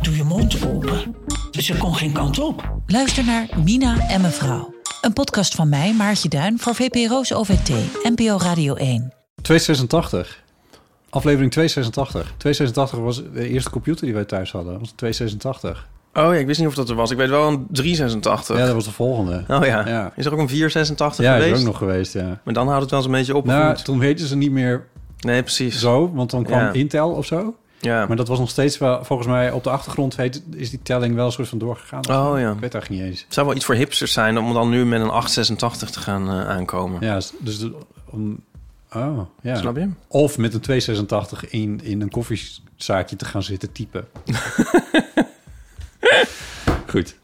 doe je mond open. Ze kon geen kant op. Luister naar Mina en mevrouw. Een podcast van mij, Maartje Duin, voor VPRO's OVT, NPO Radio 1. 286. Aflevering 286. 286 was de eerste computer die wij thuis hadden. Dat was 286. Oh ja, ik wist niet of dat er was. Ik weet wel een 386. Ja, dat was de volgende. Oh ja. Ja, Is er ook een 486 ja is geweest? er ook nog geweest, ja. Maar dan houdt het wel eens een beetje op. of Nou, niet? toen heette ze niet meer Nee, precies. zo, want dan kwam Ja. Intel of zo. Ja. Maar dat was nog steeds wel, volgens mij, op de achtergrond heet, is die telling wel een soort van doorgegaan. of zo. Oh ja. Ik weet eigenlijk niet eens. Het zou wel iets voor hipsters zijn om dan nu met een 886 te gaan eh, aankomen. Ja, s- dus de- om, oh, ja. Snap je? Of met een 286 in, in een koffiezaakje te gaan zitten typen. Goed.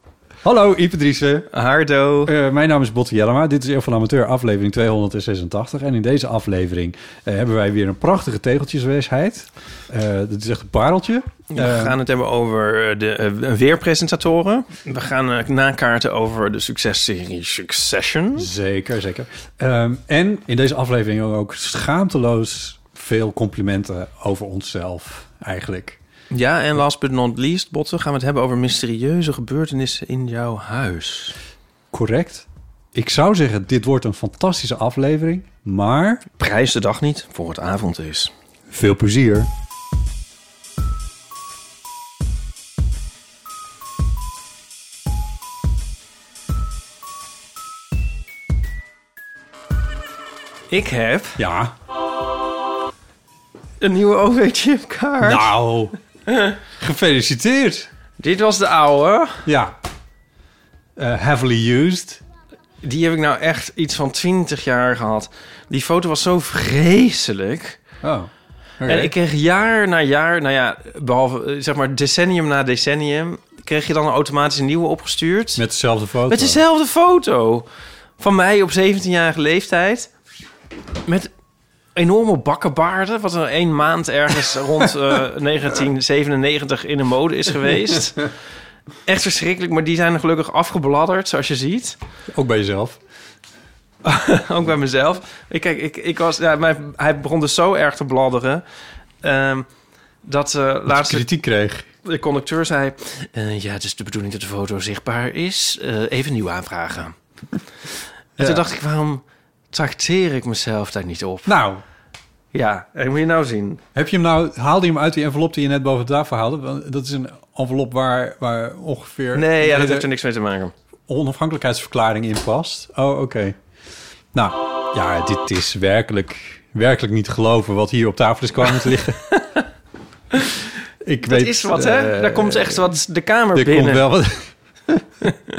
Hallo, Ipe Driessen. Hardo. Eh, mijn naam is Botte Jellema. Dit is Eeuw van Amateur, aflevering 286. En in deze aflevering eh, hebben wij weer een prachtige tegeltjeswijsheid. Eh dit is echt een pareltje. We Eh, gaan het hebben over eh, de eh, weerpresentatoren. We gaan eh, nakaarten over de successerie Succession. Zeker, zeker. Ehm, en in deze aflevering ook schaamteloos veel complimenten over onszelf, eigenlijk. Ja, en last but not least, Botten, gaan we het hebben over mysterieuze gebeurtenissen in jouw huis. Correct. Ik zou zeggen, dit wordt een fantastische aflevering, maar Prijs de dag niet voor het avond is. veel plezier. Ik heb Ja. een nieuwe OV-chipkaart. Nou, gefeliciteerd. Dit was de oude. Ja. Eh, heavily used. Die heb ik nou echt iets van 20 jaar gehad. Die foto was zo vreselijk. Oh. En ik kreeg jaar na jaar, nou ja, behalve eh, zeg maar decennium na decennium, kreeg je dan automatisch een nieuwe opgestuurd. Met dezelfde foto. Met dezelfde foto. Van mij op 17-jarige leeftijd. Met enorme bakkenbaarden. Wat er één maand ergens rond eh, 1997 in de mode is geweest. Echt verschrikkelijk, maar die zijn er gelukkig afgebladderd, zoals je ziet. Ook bij jezelf. Ook bij mezelf. Ik, kijk, ik, ik was, ja, mijn, hij begon dus zo erg te bladderen. ehm, dat eh laatste Kritiek kreeg. de conducteur zei... eh, ja, het is de bedoeling dat de foto zichtbaar is. Eh, even nieuw aanvragen. En toen dacht ik, waarom trakteer ik mezelf daar niet op? Nou, Ja, en moet je nou zien. heb je hem nou, haalde je hem uit die envelop die je net boven de tafel haalde? Want Dat is een envelop waar, waar ongeveer... Nee, ja, dat heeft de er niks mee te maken. onafhankelijkheidsverklaring in past. Oh, oké. Nou, ja, dit is werkelijk, werkelijk niet te geloven wat hier op tafel is kwamen te liggen. ik Het weet... is wat, hè? eh, daar komt echt wat de kamer Er binnen. komt wel wat.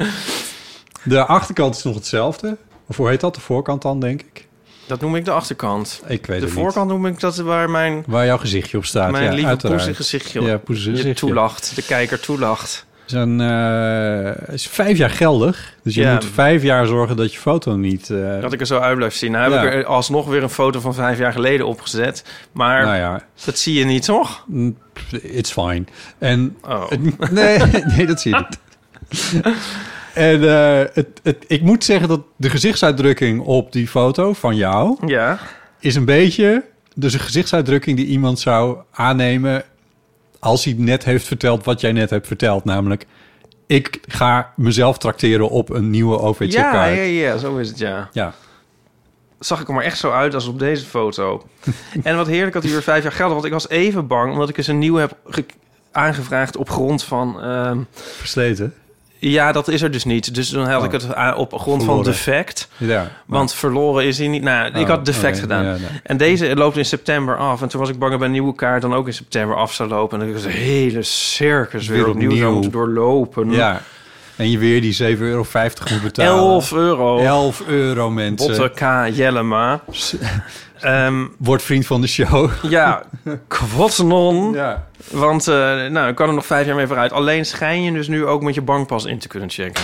de achterkant is nog hetzelfde. Of hoe heet dat? De voorkant dan, denk ik. Dat noem ik de achterkant. Ik weet de het voorkant noem ik dat waar mijn, niet. Waar jouw gezichtje op staat. mijn ja, lieve uiteraard. poesengezichtje Ja, je poesengezichtje. toelacht. De kijker toelacht. Zijn, eh, is vijf jaar geldig. Dus je Ja. moet vijf jaar zorgen dat je foto niet... eh, Dat ik er zo uit blijf zien. Nou heb Ja. ik er alsnog weer een foto van vijf jaar geleden opgezet. Maar nou ja, dat zie je niet, toch? Mm, It's fine. En Oh. het- nee, nee, dat zie je niet. En eh, het, het, ik moet zeggen dat de gezichtsuitdrukking op die foto van jou Ja. is een beetje dus een gezichtsuitdrukking die iemand zou aannemen als hij net heeft verteld wat jij net hebt verteld, namelijk ik ga mezelf trakteren op een nieuwe OV-chipkaart. Ja, ja, ja, zo is het, ja. Ja. Zag ik er maar echt zo uit als op deze foto. en wat heerlijk dat hij weer vijf jaar geldig want ik was even bang... omdat ik eens een nieuwe heb ge- aangevraagd op grond van... ehm, versleten. ja, dat is er dus niet. Dus dan had ik het a- op grond Oh. Verloren. van defect. Ja. Want verloren is hij niet. Nou, ik Oh, had defect oké, gedaan. ja, nee. En deze loopt in september af. En toen was ik bang dat mijn nieuwe kaart dan ook in september af zou lopen. En dan was de dus hele circus weer, Weer opnieuw, zou opnieuw. Mm. moeten doorlopen. Ja. En je weer die 7,50 euro moet betalen. 11 euro. 11 euro, mensen. Botte K. Jellema. Ehm, Word vriend van de show. ja, kwotsenon. Ja. Want eh nou, ik kan er nog vijf jaar mee vooruit. Alleen schijn je dus nu ook met je bankpas in te kunnen checken.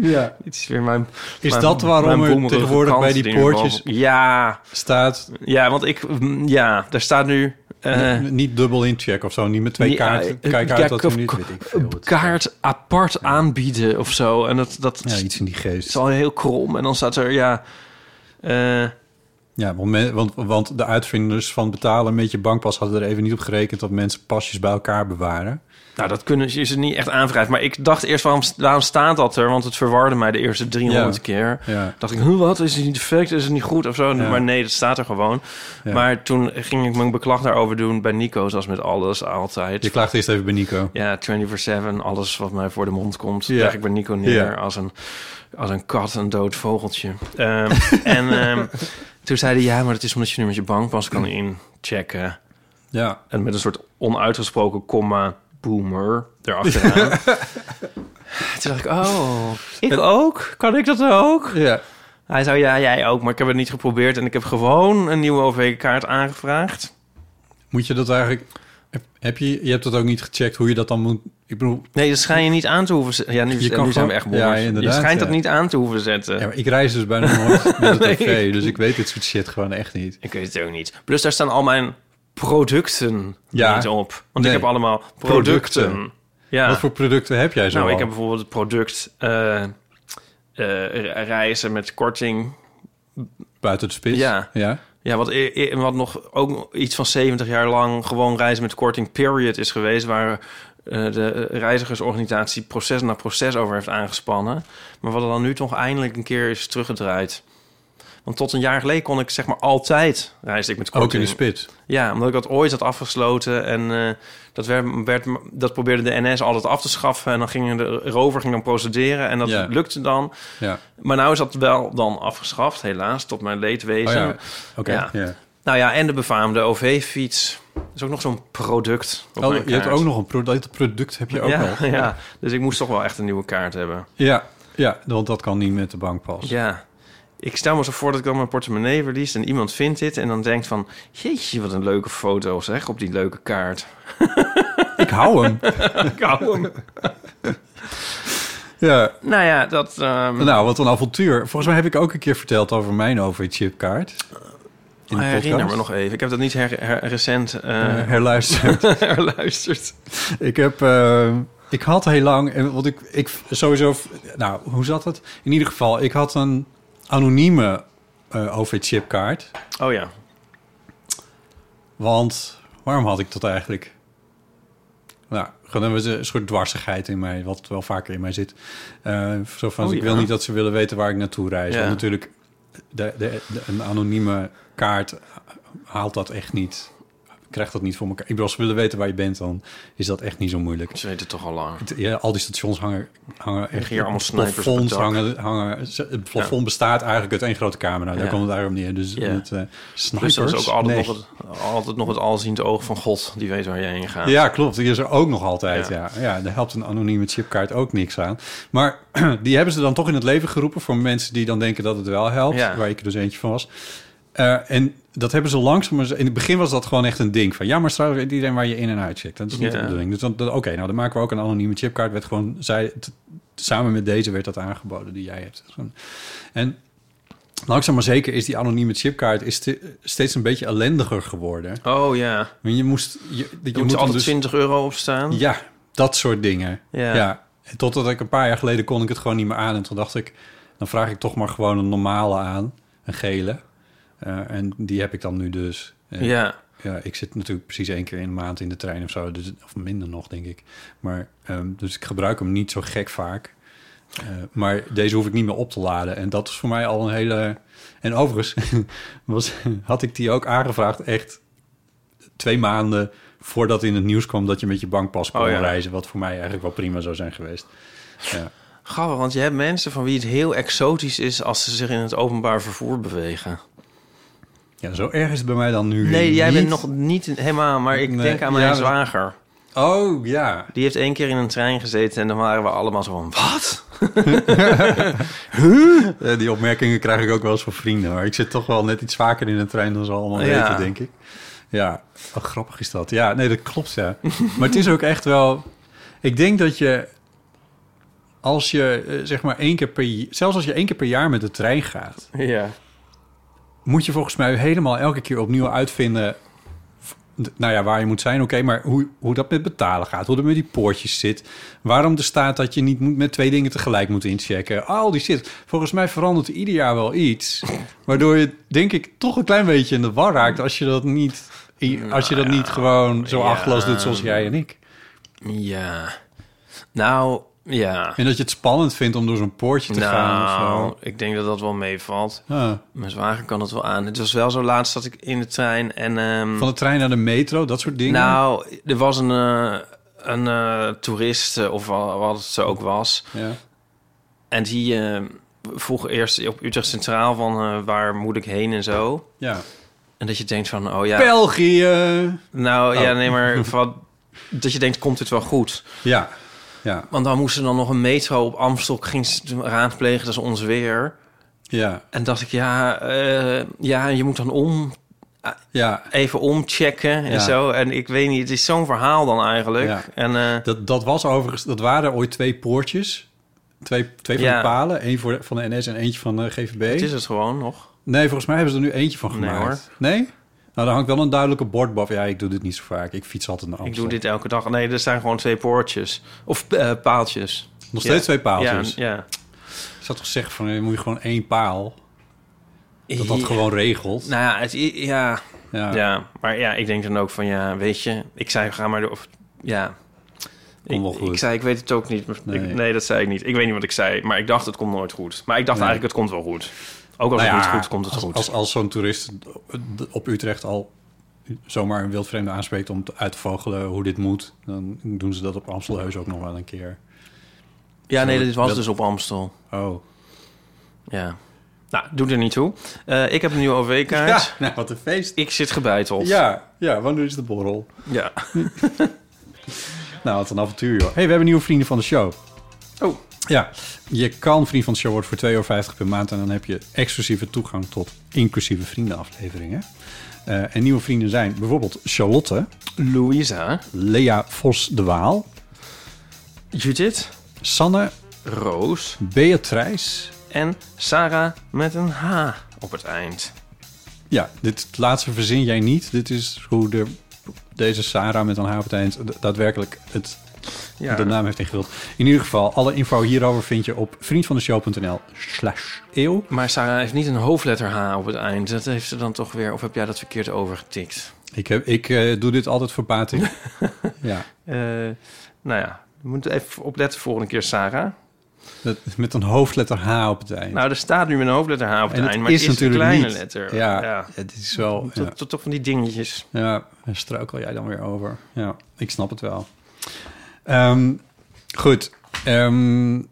ja. Dit is weer mijn. Is mijn- dat waarom mijn er boemerige tegenwoordig kant bij die die nu boven- poortjes- Ja, Staat ja, want ik. mm, Ja, daar staat nu. eh, n- niet dubbel incheck of zo. Niet met twee Ja, kaarten. eh, Kijk ja, uit dat er of- niet... Weet ik veel. kaart apart aanbieden of zo. En dat, dat Ja, iets in die geest. is al heel krom. En dan staat er, ja. eh, Ja, want, men- want, want de uitvinders van betalen met je bankpas hadden er even niet op gerekend dat mensen pasjes bij elkaar bewaren. nou, dat kunnen ze is het niet echt aangevraagd. Maar ik dacht eerst, waarom, waarom staat dat er? Want het verwarde mij de eerste 300 Ja. keer. Ja. dacht ik, huh, wat? Is het niet defect? Is het niet goed? Of zo. Ja. Maar nee, dat staat er gewoon. Ja. Maar toen ging ik mijn beklag daarover doen bij Nico, zoals met alles altijd. Je klaagt eerst even bij Nico. Ja, 24-7, alles wat mij voor de mond komt, Ja. leg ik bij Nico neer Ja. als, een, als een kat, een dood vogeltje. Ehm, en ehm, toen zei hij, ja, maar dat is omdat je nu met je bankpas kan inchecken. Ja. En met een soort onuitgesproken comma, boomer, erachteraan. toen dacht ik, oh, ik ook? Kan ik dat ook? Ja. Hij zei, ja, jij ook, maar ik heb het niet geprobeerd. En ik heb gewoon een nieuwe OV-kaart aangevraagd. Moet je dat eigenlijk... heb- Heb je, je hebt dat ook niet gecheckt hoe je dat dan moet... Ik bedoel, Nee, dat schijn je niet aan te hoeven zetten. Ja, nu, Je kan nu zijn gewoon- we echt Ja, bommers. je inderdaad, schijnt dat ja. niet aan te hoeven zetten. ja, maar ik reis dus bijna nooit met het OV, Nee. dus ik weet dit soort shit gewoon echt niet. Ik weet het ook niet. Plus daar staan al mijn producten Ja. niet op. Want Nee. ik heb allemaal producten. Producten. Ja. Wat voor producten heb jij zo nou, ik al? heb bijvoorbeeld het product eh, eh, re- reizen met korting. Buiten de spits? Ja. ja. Ja, wat, e- e- wat nog ook iets van 70 jaar lang gewoon reizen met korting period is geweest... waar eh, de reizigersorganisatie proces na proces over heeft aangespannen. Maar wat er dan nu toch eindelijk een keer is teruggedraaid. Want tot een jaar geleden kon ik zeg maar altijd reisde ik met Ook in korting. de spits. Ja, omdat ik dat ooit had afgesloten. En eh, dat, werd, werd, dat probeerde de NS altijd af te schaffen. En dan gingen de rover ging dan procederen. En dat Ja. lukte dan. Ja. Maar nou is dat wel dan afgeschaft, helaas. Tot mijn leedwezen. Oh ja. Oké. Ja. ja. Nou ja, en de befaamde OV-fiets. Dat is ook nog zo'n product. op Oh, mijn je hebt kaart. ook nog een product. Dat product heb je ook ja, nog. ja, dus ik moest toch wel echt een nieuwe kaart hebben. Ja. Ja, want dat kan niet met de bankpas. Ja. Ik stel me zo voor dat ik dan mijn portemonnee verlies en iemand vindt dit en dan denkt van... Jeetje, wat een leuke foto zeg, op die leuke kaart. Ik hou hem. Ik hou hem. Ja. Nou ja, dat... ehm, Nou, wat een avontuur. Volgens mij heb ik ook een keer verteld over mijn overchipkaart. In de nou Ah, herinner podcast. me nog even. Ik heb dat niet her- her- recent Eh, eh herluisterd. geluisterd. ik heb... eh, ik had heel lang... en Want ik, ik sowieso... Nou, hoe zat het? In ieder geval, ik had een anonieme eh overchipkaart. Oh ja. Want waarom had ik dat eigenlijk? Nou, gewoon hebben ze een soort dwarsigheid in mij, wat wel vaker in mij zit. Eh, zo van, Oh, ik ja. wil niet dat ze willen weten waar ik naartoe reis. Ja. Want natuurlijk, de, de, de- een anonieme kaart haalt dat echt niet. Krijgt dat niet voor elkaar. Ik bedoel, als ze willen weten waar je bent, dan is dat echt niet zo moeilijk. Ze weten het toch al lang. Het- Ja, al die stations hangen, hangen echt... Liggen hier allemaal snipers op het plafonds dak. hangen, hangen... Het plafond bestaat eigenlijk uit één grote camera. Daar Ja. komt het daarom neer. Dus Ja. met eh, snipers... Dus dat is ook altijd, Nee. nog het, altijd nog het alziend oog van God. Die weet waar jij heen gaat. Ja, klopt. Die is er ook nog altijd. Ja. Ja. Ja. daar helpt een anonieme chipkaart ook niks aan. Maar die hebben ze dan toch in het leven geroepen voor mensen die dan denken dat het wel helpt. Ja. Waar ik er dus eentje van was. Eh, en dat hebben ze langzaam. maar In het begin was dat gewoon echt een ding van ja, maar straks weet iedereen waar je in en uit checkt. Dat is niet Ja. de bedoeling. Dus dan, dan- oké, nou dan maken we ook een anonieme chipkaart. Werd gewoon zij, t- samen met deze werd dat aangeboden die jij hebt. En langzaam maar zeker is die anonieme chipkaart is te- steeds een beetje ellendiger geworden. Oh ja. Er Want je moest je, je moet moet, hem altijd dus- 20 euro op staan. ja, dat soort dingen. Ja. Ja. En totdat ik een paar jaar geleden kon ik het gewoon niet meer aan. En toen dacht ik, dan vraag ik toch maar gewoon een normale aan. Een gele. Eh, en die heb ik dan nu dus. En, Ja. ja, ik zit natuurlijk precies één keer in de maand in de trein of zo. Dus, of minder nog, denk ik. Maar, ehm, dus ik gebruik hem niet zo gek vaak. Eh, maar deze hoef ik niet meer op te laden. En dat is voor mij al een hele... En overigens was, had ik die ook aangevraagd echt twee maanden voordat in het nieuws kwam dat je met je bankpas kon Oh ja. reizen. Wat voor mij eigenlijk wel prima zou zijn geweest. Ja. Grappig, want je hebt mensen van wie het heel exotisch is als ze zich in het openbaar vervoer bewegen. ja, zo erg is het bij mij dan nu Nee, jij niet. bent nog niet helemaal, maar ik Nee, denk aan mijn ja, zwager. Oh, ja. Die heeft één keer in een trein gezeten en dan waren we allemaal zo van, wat? Eh, Die opmerkingen krijg ik ook wel eens van vrienden. Maar ik zit toch wel net iets vaker in een trein dan ze allemaal Ja. weten, denk ik. Ja, oh, grappig is dat. Ja, nee, dat klopt, ja. maar het is ook echt wel... Ik denk dat je... Als je, eh, zeg maar, één keer per... j- Zelfs als je één keer per jaar met de trein gaat... Ja. moet je volgens mij helemaal elke keer opnieuw uitvinden. v- Nou ja, waar je moet zijn, oké, maar hoe, hoe dat met betalen gaat, hoe dat met die poortjes zit. Waarom er staat dat je niet moet, met twee dingen tegelijk moet inchecken. Al die shit. Volgens mij verandert ieder jaar wel iets. Waardoor je, denk ik, toch een klein beetje in de war raakt als je dat niet, i- als je dat niet gewoon zo ja. achterloos doet zoals jij en ik. Ja. Nou, ja. En dat je het spannend vindt om door zo'n poortje te gaan of Nou, zo. ik denk dat dat wel meevalt. Ah, Mijn zwager kan het wel aan. Het was wel zo laatst dat ik in de trein en... ehm, van de trein naar de metro, dat soort dingen. nou, er was een, eh, een eh, toerist, eh, of wa- wat het zo ook was... ja. En die eh, vroeg eerst op Utrecht Centraal van eh, waar moet ik heen en zo. ja. En dat je denkt van, oh ja, België. nou ja, Oh. nee maar van, dat je denkt, komt dit wel goed? Ja, ja, Want dan moest er dan nog een metro op Amstel, ging ze raadplegen, dat is ons weer. ja, En dacht ik, ja, eh, ja je moet dan om, ja. even omchecken en Ja. zo. En ik weet niet, het is zo'n verhaal dan eigenlijk. Ja. En eh, Dat, dat was overigens, dat waren ooit twee poortjes. Twee, twee van Ja. de palen. één voor, van de NS en eentje van de GVB. het is het gewoon nog. Nee, volgens mij hebben ze er nu eentje van Nee, gemaakt. Nee? Nou, daar hangt wel een duidelijke bord boven. Ja, ik doe dit niet zo vaak. Ik fiets altijd naar Ik Amsterdam. doe dit elke dag. Nee, er zijn gewoon twee poortjes. Of eh, paaltjes. Nog steeds Ja. twee paaltjes. Ja, ja. Ik zou toch zeggen van, eh, moet je gewoon één paal. Dat dat Ja. gewoon regelt. Nou ja, het, i- ja, ja. ja. Ja. maar ja, ik denk dan ook van ja, weet je, ik zei ga maar door. Of, ja. Komt Ik, wel goed. ik zei, ik weet het ook niet. maar ik- Nee. Nee. dat zei ik niet. Ik weet niet wat ik zei, maar ik dacht, het komt nooit goed. Maar ik dacht Nee. eigenlijk, het komt wel goed. Ook als Nou het ja, niet goed komt, het als, goed. Als, als zo'n toerist op Utrecht al zomaar een wildvreemde aanspreekt om te- uit te vogelen hoe dit moet, dan doen ze dat op Amstelheus ook nog wel een keer. ja, nee, dit was dat- dus op Amstel. Oh. Ja. Nou, doe er niet toe. Eh, ik heb een nieuwe OV-kaart. Ja, nou, wat een feest. Ik zit gebeiteld. Ja, ja, wanneer is de borrel? ja. Nou, wat een avontuur, joh. hey, we hebben nieuwe vrienden van de show. Oh. Ja, je kan vriend van de show worden voor 2,50 euro per maand... en dan heb je exclusieve toegang tot inclusieve vriendenafleveringen. Eh, en nieuwe vrienden zijn bijvoorbeeld Charlotte, Louisa. Lea Vos de Waal... Judith. Sanne, Roos. Beatrice... En Sarah met een H op het eind. Ja, dit laatste verzin jij niet. Dit is hoe de, deze Sarah met een H op het eind da- daadwerkelijk het Ja. de naam heeft ingevuld. In ieder geval, alle info hierover vind je op vriendvandeshow.nl slash eeuw. Maar Sarah heeft niet een hoofdletter H op het eind. Dat heeft ze dan toch weer. Of heb jij dat verkeerd overgetikt? Ik, heb, ik eh, doe dit altijd voor Patrick. ja, Eh, nou ja, je moet even opletten volgende keer, Sarah. met, met een hoofdletter H op het eind. Nou, er staat nu een hoofdletter H op het en eind, maar het is een kleine niet. letter. Ja, het is wel... Ja, Tot, tot, toch van die dingetjes. ja daar struikel jij dan weer over. Ja, ik snap het wel. Ehm, goed. Ehm,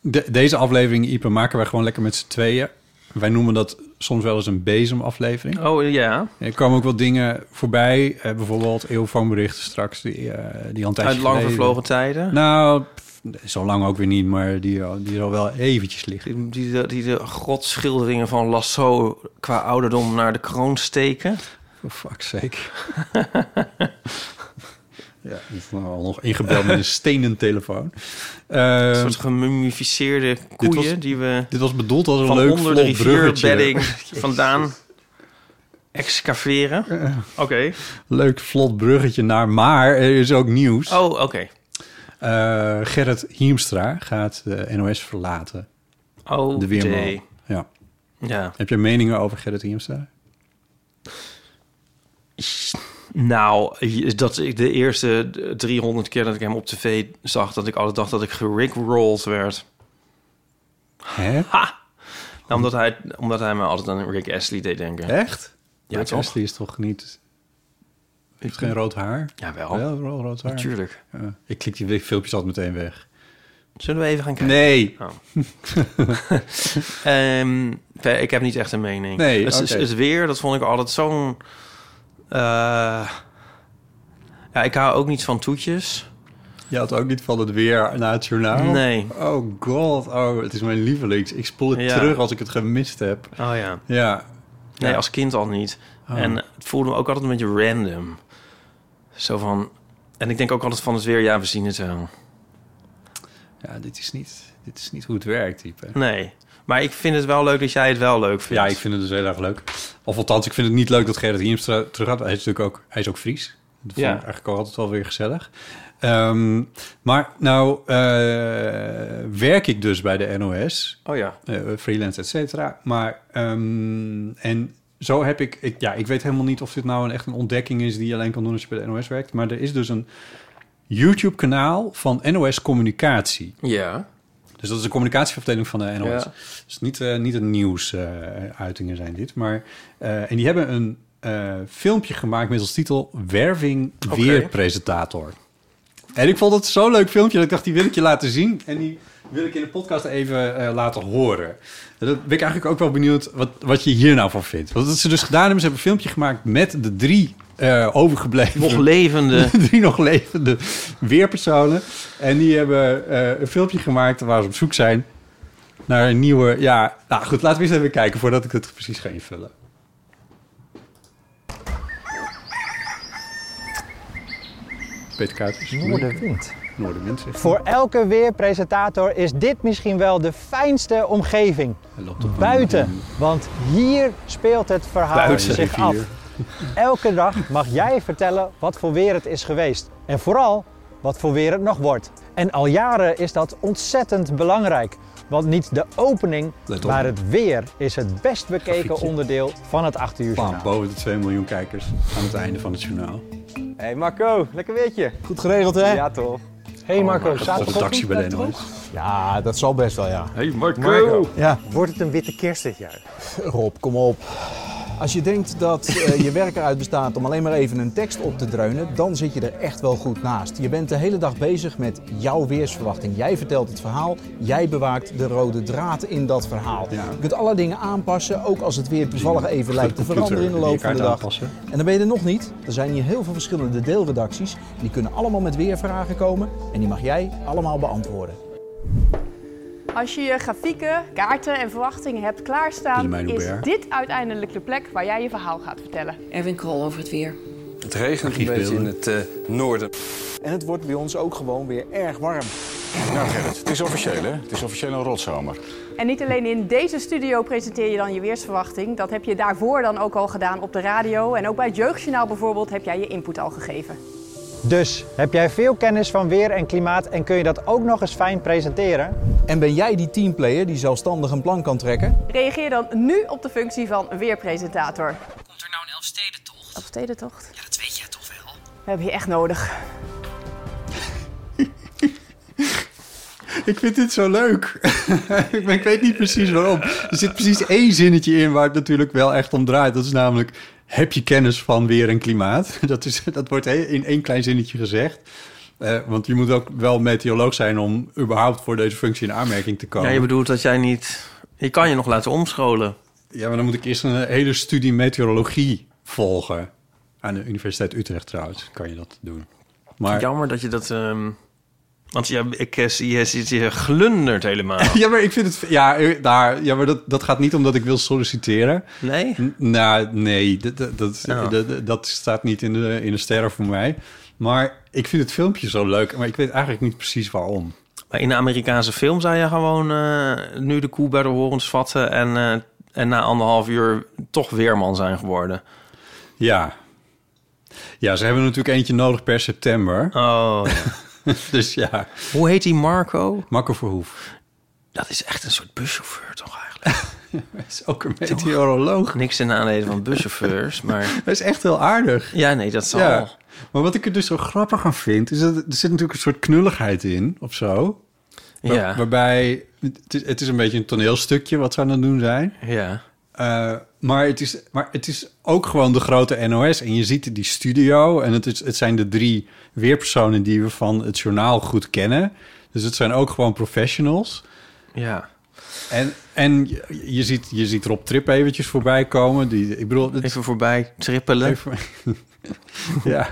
de- deze aflevering, Ipe, maken wij gewoon lekker met z'n tweeën. Wij noemen dat soms wel eens een bezemaflevering. Oh ja, Er kwamen ook wel dingen voorbij. eh, bijvoorbeeld eeuwfoonberichten straks. Die, eh, die al een tijdje uit lang geleden- vervlogen tijden. Nou, pff, zo lang ook weer niet. Maar die, al- die al wel eventjes liggen. Die, die, de- die de grotschilderingen van Lasso qua ouderdom naar de kroon steken. For fuck's sake. ja, die is nou al nog ingebeld met een stenen telefoon. Eh, Een soort gemummificeerde koeien was- die we dit was bedoeld als een van leuk onder de vlot bruggetje. rivierbedding vandaan excaveren. Oké. Leuk vlot bruggetje naar, maar er is ook nieuws. Oh, oké. Eh, Gerrit Hiemstra gaat de NOS verlaten. Oh, De weerman. jee. Ja. Ja. Heb je meningen over Gerrit Hiemstra? Nou, dat ik de eerste 300 keer dat ik hem op tv zag, dat ik altijd dacht dat ik gerickrolled werd. Hè? Nou, omdat hij, omdat hij me altijd aan Rick Astley deed denken. Echt? Ja, Rick toch? Astley is toch niet... Heeft geen rood haar? Jawel. Wel ro- rood haar. Natuurlijk. Ja. Ik klik die filmpjes altijd meteen weg. Zullen we even gaan kijken? Nee. Ehm, ver- ik heb niet echt een mening. Nee, het, is- oké. het weer, dat vond ik altijd zo'n... eh, Ja, ik hou ook niet van toetjes. Je had ook niet van het weer na het journaal? Nee. Oh god, oh, het is mijn lievelings. Ik spoel het Ja. terug als ik het gemist heb. Oh ja. Ja, Nee, Ja. Oh. als kind al niet. En het voelde me ook altijd een beetje random. Zo van... En ik denk ook altijd van het weer, ja, we zien het wel. ja dit, is niet, dit is niet hoe het werkt, type. Nee. Maar ik vind het wel leuk dat jij het wel leuk vindt. Ja, ik vind het dus heel erg leuk. Of althans, ik vind het niet leuk dat Gerrit Hiemstra terug gaat. Hij is natuurlijk ook, hij is ook Fries. Dat vond Ja. ik eigenlijk ook altijd wel weer gezellig. Ehm, maar nou eh, werk ik dus bij de NOS, Oh ja. eh, freelance, et cetera. Maar ehm, en zo heb ik, ik, ja, ik weet helemaal niet of dit nou een, echt een ontdekking is die je alleen kan doen als je bij de NOS werkt. Maar er is dus een YouTube-kanaal van NOS Communicatie. Ja. Dus dat is de communicatieafdeling van de NOS. Ja. Dus niet, eh, niet een nieuwsuitingen zijn dit. Maar, eh, en die hebben een eh, filmpje gemaakt met als titel... Werving Weerpresentator. En ik vond het zo'n leuk filmpje dat ik dacht, die wil ik je laten zien. En die wil ik in de podcast even eh, laten horen. En dat ben ik eigenlijk ook wel benieuwd wat, wat je hier nou van vindt. Want wat ze dus gedaan hebben, ze hebben een filmpje gemaakt met de drie eh, overgebleven Nog levende... drie nog levende weerpersonen. En die hebben eh, een filmpje gemaakt waar ze op zoek zijn naar een nieuwe... Ja, nou goed, laten we eens even kijken voordat ik het precies ga invullen. Peter Kuipers. Noorderwind. Noorderwind, zegt hij. Voor elke weerpresentator is dit misschien wel de fijnste omgeving. Hij loopt op een- Buiten, want hier speelt het verhaal Buiten. zich af. Rivier. Elke dag mag jij vertellen wat voor weer het is geweest. En vooral wat voor weer het nog wordt. En al jaren is dat ontzettend belangrijk. Want niet de opening, Let op. maar het weer is het best bekeken Grafiekje. onderdeel van het 8 uur Bam, journaal. boven de 2 miljoen kijkers aan het einde van het journaal. Hey Marco, lekker weertje. Goed geregeld, hè? Ja toch. Hey Marco, eh, Op de taxi bij de NOS. Ja, dat zal best wel, ja. Hey Marco. Ja, Wordt het een witte kerst dit jaar? Rob, kom op. Als je denkt dat eh, je werk eruit bestaat om alleen maar even een tekst op te dreunen, dan zit je er echt wel goed naast. Je bent de hele dag bezig met jouw weersverwachting. Jij vertelt het verhaal, jij bewaakt de rode draad in dat verhaal. Ja. Je kunt allerlei dingen aanpassen, ook als het weer toevallig even lijkt te computer veranderen in die de je loop van de kaart dag. aanpassen. En dan ben je er nog niet. Er zijn hier heel veel verschillende deelredacties. Die kunnen allemaal met weervragen komen en die mag jij allemaal beantwoorden. Als je je grafieken, kaarten en verwachtingen hebt klaarstaan, Willemijn is Hubert. dit uiteindelijk de plek waar jij je verhaal gaat vertellen. Erwin Krol over het weer. Het regent een beetje in het eh, noorden. En het wordt bij ons ook gewoon weer erg warm. Nou Gerrit, het is officieel hè? Het is officieel een rotzomer. En niet alleen in deze studio presenteer je dan je weersverwachting. Dat heb je daarvoor dan ook al gedaan op de radio. En ook bij het Jeugdjournaal bijvoorbeeld heb jij je input al gegeven. Dus heb jij veel kennis van weer en klimaat en kun je dat ook nog eens fijn presenteren? En ben jij die teamplayer die zelfstandig een plan kan trekken? Reageer dan nu op de functie van weerpresentator. Komt er nou een Elfstedentocht? Elfstedentocht. Ja, dat weet jij toch wel? We hebben je echt nodig. Ik vind dit zo leuk. ik, ben- ik weet niet precies waarom. Er zit precies één zinnetje in waar het natuurlijk wel echt om draait. Dat is namelijk, heb je kennis van weer en klimaat? Dat, is, dat wordt he- in één klein zinnetje gezegd. Eh, want je moet ook wel meteoroloog zijn om überhaupt voor deze functie in aanmerking te Ja, komen. Ja, je bedoelt dat jij niet... Je kan je nog laten omscholen. maar dan moet ik eerst een eh, hele studie meteorologie volgen. Aan de Universiteit Utrecht trouwens kan je dat doen. Maar, ja. Jammer dat je dat... ehm, want ja, ik eh, zie je, zit hier glundert helemaal. maar ik vind het... Ja, eh, daar, ja maar dat, dat gaat niet omdat ik wil solliciteren. Nee? N- Nou, nee, dat, dat, dat, Oh. dat, dat staat niet in de, in de sterren voor mij. Maar ik vind het filmpje zo leuk, maar ik weet eigenlijk niet precies waarom. Maar in de Amerikaanse film zou je gewoon eh, nu de koe bij de horens vatten... En, eh, en na anderhalf uur toch weerman zijn geworden. Ja. Ja, ze hebben natuurlijk eentje nodig per september. Oh, Dus ja, Hoe heet die Marco? Marco Verhoef Dat is echt een soort buschauffeur toch eigenlijk? is ook een meteoroloog. Niks in aanleiding van buschauffeurs, maar... Hij is echt heel aardig. Ja, nee, dat zal... Ja. Maar wat ik er dus zo grappig aan vind, is dat er zit natuurlijk een soort knulligheid in of zo. Waar- Ja, Waarbij het is, het is een beetje een toneelstukje wat ze aan het doen zijn. ja. Eh, maar, het is, maar het is ook gewoon de grote NOS. En je ziet die studio. En het, is, het zijn de drie weerpersonen die we van het journaal goed kennen. Dus het zijn ook gewoon professionals. ja. En, en je, je ziet, je ziet Rob Trip eventjes voorbij komen. Die, ik bedoel... Het, Even voorbij trippelen. even- ja.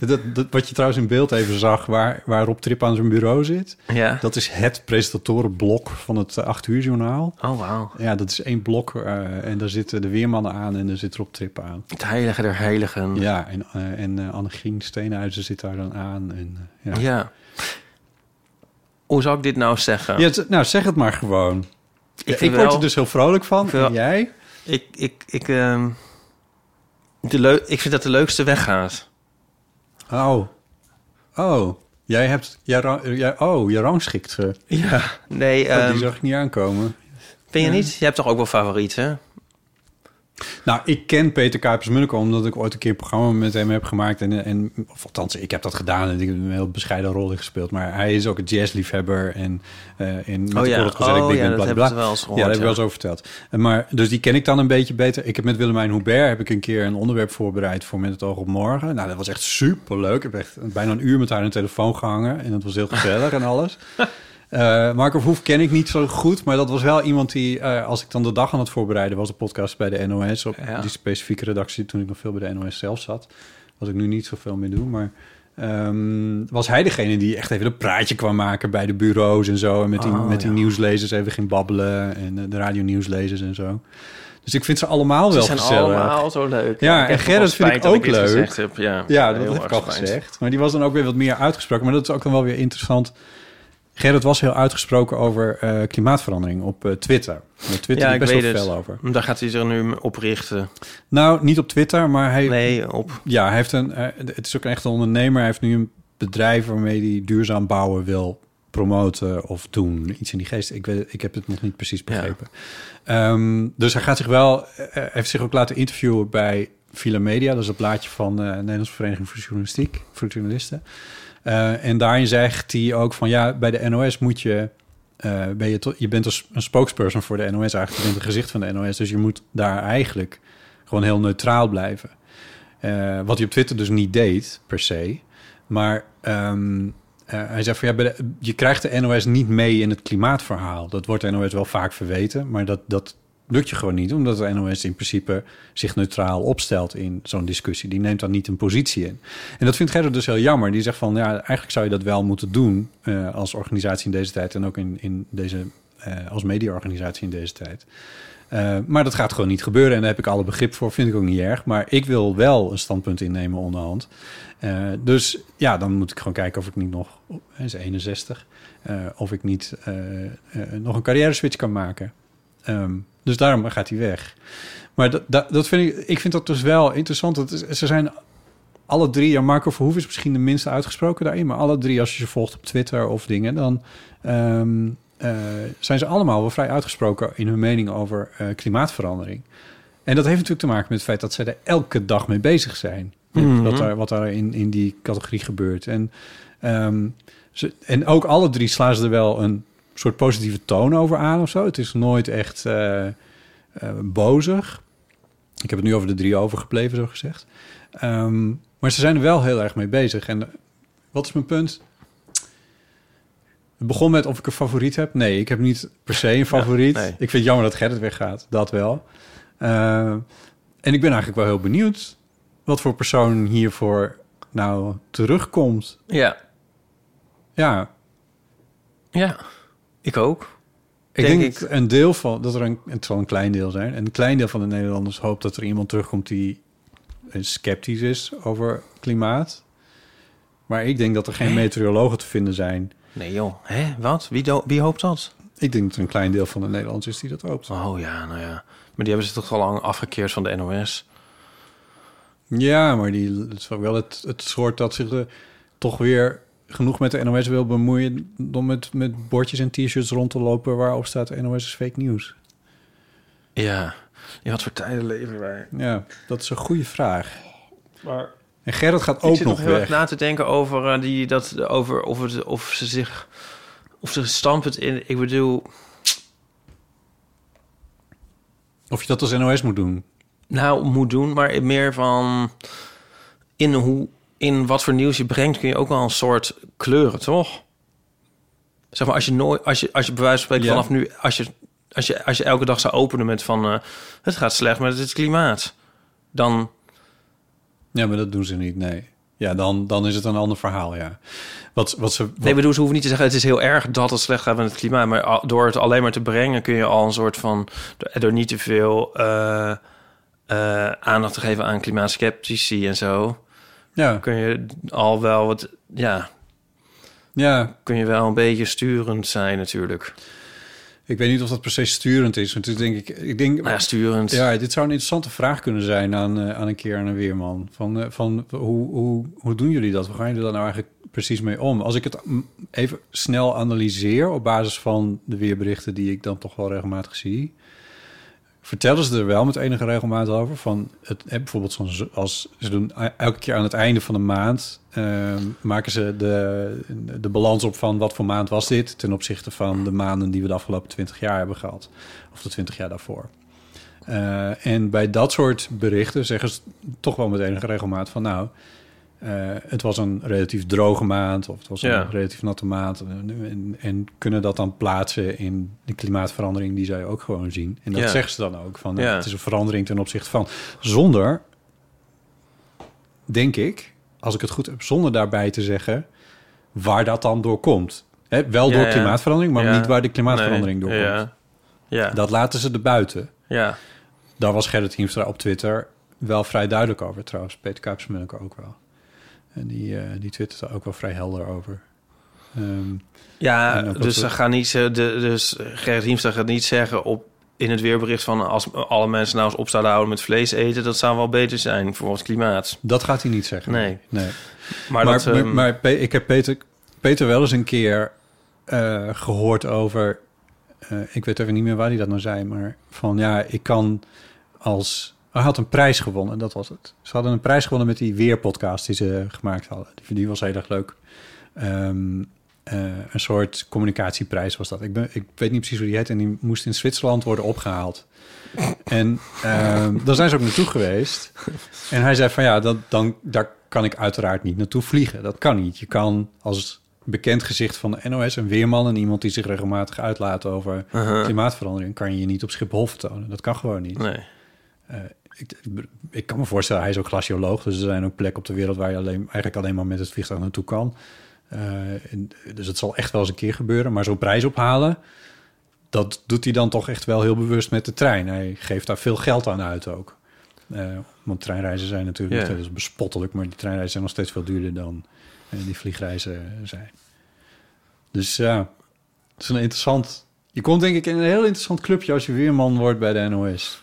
Dat, dat, wat je trouwens in beeld even zag, waar, waar Rob Trip aan zijn bureau zit. Ja. Dat is het presentatorenblok van het eh, 8 uur journaal. Oh, wauw. Ja, dat is één blok eh, en daar zitten de weermannen aan en daar zit Rob Trip aan. Het heilige der heiligen. Ja, en, eh en eh, Annegien Steenhuizen zit daar dan aan. En, eh, Ja. Hoe zou ik dit nou zeggen? Ja, het- nou, zeg het maar gewoon. Ja, Ik, vind word wel- er dus heel vrolijk van. vind wel- En jij? Ik, ik, ik, ehm, de leu ik vind dat de leukste weggaat. Oh. Oh. Jij hebt... Jij, ra- jij, oh, je rangschikt ze. Ja. Nee, Oh, ehm, die zag ik niet aankomen. vind je niet? Je hebt toch ook wel favorieten? Nou, ik ken Peter Kuipers-Munneke... omdat ik ooit een keer een programma met hem heb gemaakt. En, eh, en, of althans, ik heb dat gedaan en ik heb een heel bescheiden rol in gespeeld. Maar hij is ook een jazzliefhebber. En, eh en met Oh de ja. Korrel Gezellig Oh Big ja, Band, bla, dat bla, hebben bla. ze wel eens gehoord, Ja, dat heb ik ja. wel eens over verteld. En Maar, dus die ken ik dan een beetje beter. Ik heb met Willemijn Hubert heb ik een keer een onderwerp voorbereid... voor Met het oog op morgen. Nou, dat was echt superleuk. Ik heb echt bijna een uur met haar aan de telefoon gehangen. En dat was heel gezellig en alles. Eh, Marco Verhoef ken ik niet zo goed, maar dat was wel iemand die, eh, als ik dan de dag aan het voorbereiden was, de podcast bij de NOS, op die specifieke redactie toen ik nog veel bij de NOS zelf zat, wat ik nu niet zoveel meer doe, maar ehm, was hij degene die echt even een praatje kwam maken bij de bureaus en zo, en met die, Oh, met die nieuwslezers even ging babbelen en eh, de radionieuwslezers en zo. Dus ik vind ze allemaal Ze wel zijn gezellig. allemaal zo leuk. Ja, en Ik heb toch wel Gerrit vind spijt ik dat ook ik dit leuk. gezegd heb. Ja, heel dat heb ik erg al spijt. gezegd. Maar die was dan ook weer wat meer uitgesproken. Maar dat is ook dan wel weer interessant. Gerrit was heel uitgesproken over eh, klimaatverandering op eh, Twitter. Op Twitter ja, die ik best weet wel het. fel over. Daar gaat hij zich nu op richten. Nou, niet op Twitter, maar hij... Nee, op. Ja, hij heeft een, eh, het is ook een echte ondernemer. Hij heeft nu een bedrijf waarmee hij duurzaam bouwen wil promoten of doen. Iets in die geest. Ik, weet, ik heb het nog niet precies begrepen. Ehm, dus hij gaat zich wel... eh, hij heeft zich ook laten interviewen bij Villa Media. Dat is een blaadje van eh, de Nederlandse Vereniging voor Journalistiek. Voor journalisten. Eh, en daarin zegt hij ook van... Ja, bij de NOS moet je... eh, ben je, to- je bent een, s- een spokesperson voor de NOS eigenlijk. Je bent het gezicht van de NOS. Dus je moet daar eigenlijk gewoon heel neutraal blijven. Eh, wat hij op Twitter dus niet deed, per se. Maar ehm, eh, hij zei van ja, bij de- je krijgt de NOS niet mee in het klimaatverhaal. Dat wordt de NOS wel vaak verweten, maar dat, dat lukt je gewoon niet, omdat de NOS in principe zich neutraal opstelt in zo'n discussie. Die neemt daar niet een positie in. En dat vindt Gerrit dus heel jammer. Die zegt van ja, eigenlijk zou je dat wel moeten doen eh, als organisatie in deze tijd en ook in, in deze, eh, als mediaorganisatie in deze tijd. Eh, maar dat gaat gewoon niet gebeuren. En daar heb ik alle begrip voor. Vind ik ook niet erg. Maar ik wil wel een standpunt innemen onderhand. Eh, dus ja, dan moet ik gewoon kijken of ik niet nog... Hij is 61. eh, of ik niet eh, eh, nog een carrière switch kan maken. Ehm, dus daarom gaat hij weg. Maar dat, dat, dat vind ik, ik vind dat dus wel interessant. Dat is- ze zijn alle drie... Ja, Marco Verhoeven is misschien de minste uitgesproken daarin. Maar alle drie, als je ze volgt op Twitter of dingen... dan ehm, eh, zijn ze allemaal wel vrij uitgesproken in hun mening over eh, klimaatverandering. En dat heeft natuurlijk te maken met het feit dat zij er elke dag mee bezig zijn. Met Mhm. dat daar, wat daar in, in die categorie gebeurt. En, ehm, ze, en ook alle drie slaan ze er wel een soort positieve toon over aan of zo. Het is nooit echt eh, eh, bozig. Ik heb het nu over de drie overgebleven, zo gezegd. Ehm, maar ze zijn er wel heel erg mee bezig. En eh, wat is mijn punt? Het begon met of ik een favoriet heb. Nee, ik heb niet per se een favoriet. nee. Ik vind het jammer dat Gerrit weggaat. Dat wel. Eh, en ik ben eigenlijk wel heel benieuwd... wat voor persoon hiervoor nou terugkomt. Ja. Ja, Ja. Ik ook. ik denk, Denk dat een deel van... dat er een, het zal een klein deel zijn. En een klein deel van de Nederlanders hoopt dat er iemand terugkomt... die eh, sceptisch is over klimaat. Maar ik denk dat er geen meteorologen te vinden zijn... Nee joh. Hè? Wat? Wie, do- wie hoopt dat? Ik denk dat er een klein deel van de Nederlanders is die dat hoopt. Oh ja, nou ja. Maar die hebben ze toch al lang afgekeerd van de NOS. Ja, maar die, het is ook wel het, het soort dat zich er toch weer genoeg met de NOS wil bemoeien... om met, met bordjes en t-shirts rond te lopen waarop staat NOS is fake nieuws. Ja. Ja, wat voor tijden leven wij. Ja, dat is een goede vraag. Maar En Gerrit gaat ik ook zit nog heel erg weg. na te denken over, eh, die, dat, over of, het, of ze zich... Of ze standpunt in... Ik bedoel... Of je dat als NOS moet doen. nou moet doen, maar meer van in hoe in wat voor nieuws je brengt kun je ook wel een soort kleuren, toch? Zeg maar als je nooit als je als je bij wijze van spreken Ja. vanaf nu als je als je als je elke dag zou openen met van eh, het gaat slecht met het klimaat, dan Ja, maar dat doen ze niet, nee. Ja, dan, dan is het een ander verhaal, ja. Wat, wat ze, Nee, ik bedoel, ze hoeven niet te zeggen... het is heel erg dat het slecht gaat met het klimaat. Maar al- door het alleen maar te brengen kun je al een soort van... door- door niet te veel eh, eh, aandacht te geven aan klimaatskeptici en zo... Ja. kun je al wel wat... Ja, ja. kun je wel een beetje sturend zijn natuurlijk. Ik weet niet of dat precies sturend is. Want toen denk ik, ik denk, Nou ja, sturend. Ja, dit zou een interessante vraag kunnen zijn aan, eh, aan een keer aan een weerman. Van, eh, van hoe, hoe, hoe doen jullie dat? Hoe gaan jullie daar nou eigenlijk precies mee om? Als ik het mm, even snel analyseer op basis van de weerberichten die ik dan toch wel regelmatig zie. Vertellen ze er wel met enige regelmaat over? Van het, eh, bijvoorbeeld zo'n z- als ze doen e- elke keer aan het einde van de maand eh, maken ze de, de balans op van wat voor maand was dit ten opzichte van de maanden die we de afgelopen 20 jaar hebben gehad. Of de 20 jaar daarvoor. Eh, en bij dat soort berichten zeggen ze toch wel met enige regelmaat van... nou, eh, het was een relatief droge maand of het was Ja. een relatief natte maand. En, en, en kunnen dat dan plaatsen in de klimaatverandering die zij ook gewoon zien. En dat Ja. zeggen ze dan ook. Van, nou, Ja. Het is een verandering ten opzichte van... Zonder, denk ik, als ik het goed heb, zonder daarbij te zeggen waar dat dan door komt. Hè, wel Ja, door ja. klimaatverandering, maar Ja. niet waar de klimaatverandering Nee, door komt. Ja. ja. Dat laten ze erbuiten. Ja. Daar was Gerrit Hiemstra op Twitter wel vrij duidelijk over trouwens. Peter Kuipsmelk ook wel. En die, eh die twittert er ook wel vrij helder over. Ehm, Ja, en ook dus, dat ze we- gaan niet, ze- de, dus Gerrit Hiemstra gaat niet zeggen op, in het weerbericht van... als alle mensen nou eens op zouden houden met vlees eten... dat zou wel beter zijn voor ons klimaat. Dat gaat hij niet zeggen. Nee. Nee. Maar Maar, dat, maar, ehm, maar Pe- ik heb Peter, Peter wel eens een keer eh, gehoord over... eh, ik weet even niet meer waar hij dat nou zei, maar van ja, ik kan als... Hij had een prijs gewonnen, dat was het. Ze hadden een prijs gewonnen met die weerpodcast die ze gemaakt hadden. Die, die was heel erg leuk. Ehm, eh, een soort communicatieprijs was dat. Ik, ben, ik weet niet precies hoe die heet. En die moest in Zwitserland worden opgehaald. En ehm, daar zijn ze ook naartoe geweest. En hij zei van ja, dat, dan, daar kan ik uiteraard niet naartoe vliegen. Dat kan niet. Je kan als bekend gezicht van de NOS een weerman... en iemand die zich regelmatig uitlaat over Uh-huh. klimaatverandering... kan je je niet op Schiphol vertonen. Dat kan gewoon niet. Nee. Eh, ik, ik- ik kan me voorstellen, hij is ook glacioloog. Dus er zijn ook plekken op de wereld waar je alleen, eigenlijk alleen maar met het vliegtuig naartoe kan. Eh, en- dus het zal echt wel eens een keer gebeuren. Maar zo'n prijs ophalen, dat doet hij dan toch echt wel heel bewust met de trein. Hij geeft daar veel geld aan uit ook. Eh, want treinreizen zijn natuurlijk Ja. nog steeds bespottelijk. Maar die treinreizen zijn nog steeds veel duurder dan eh, die vliegreizen zijn. Dus ja, het is een interessant... Je komt denk ik in een heel interessant clubje als je weerman wordt bij de NOS.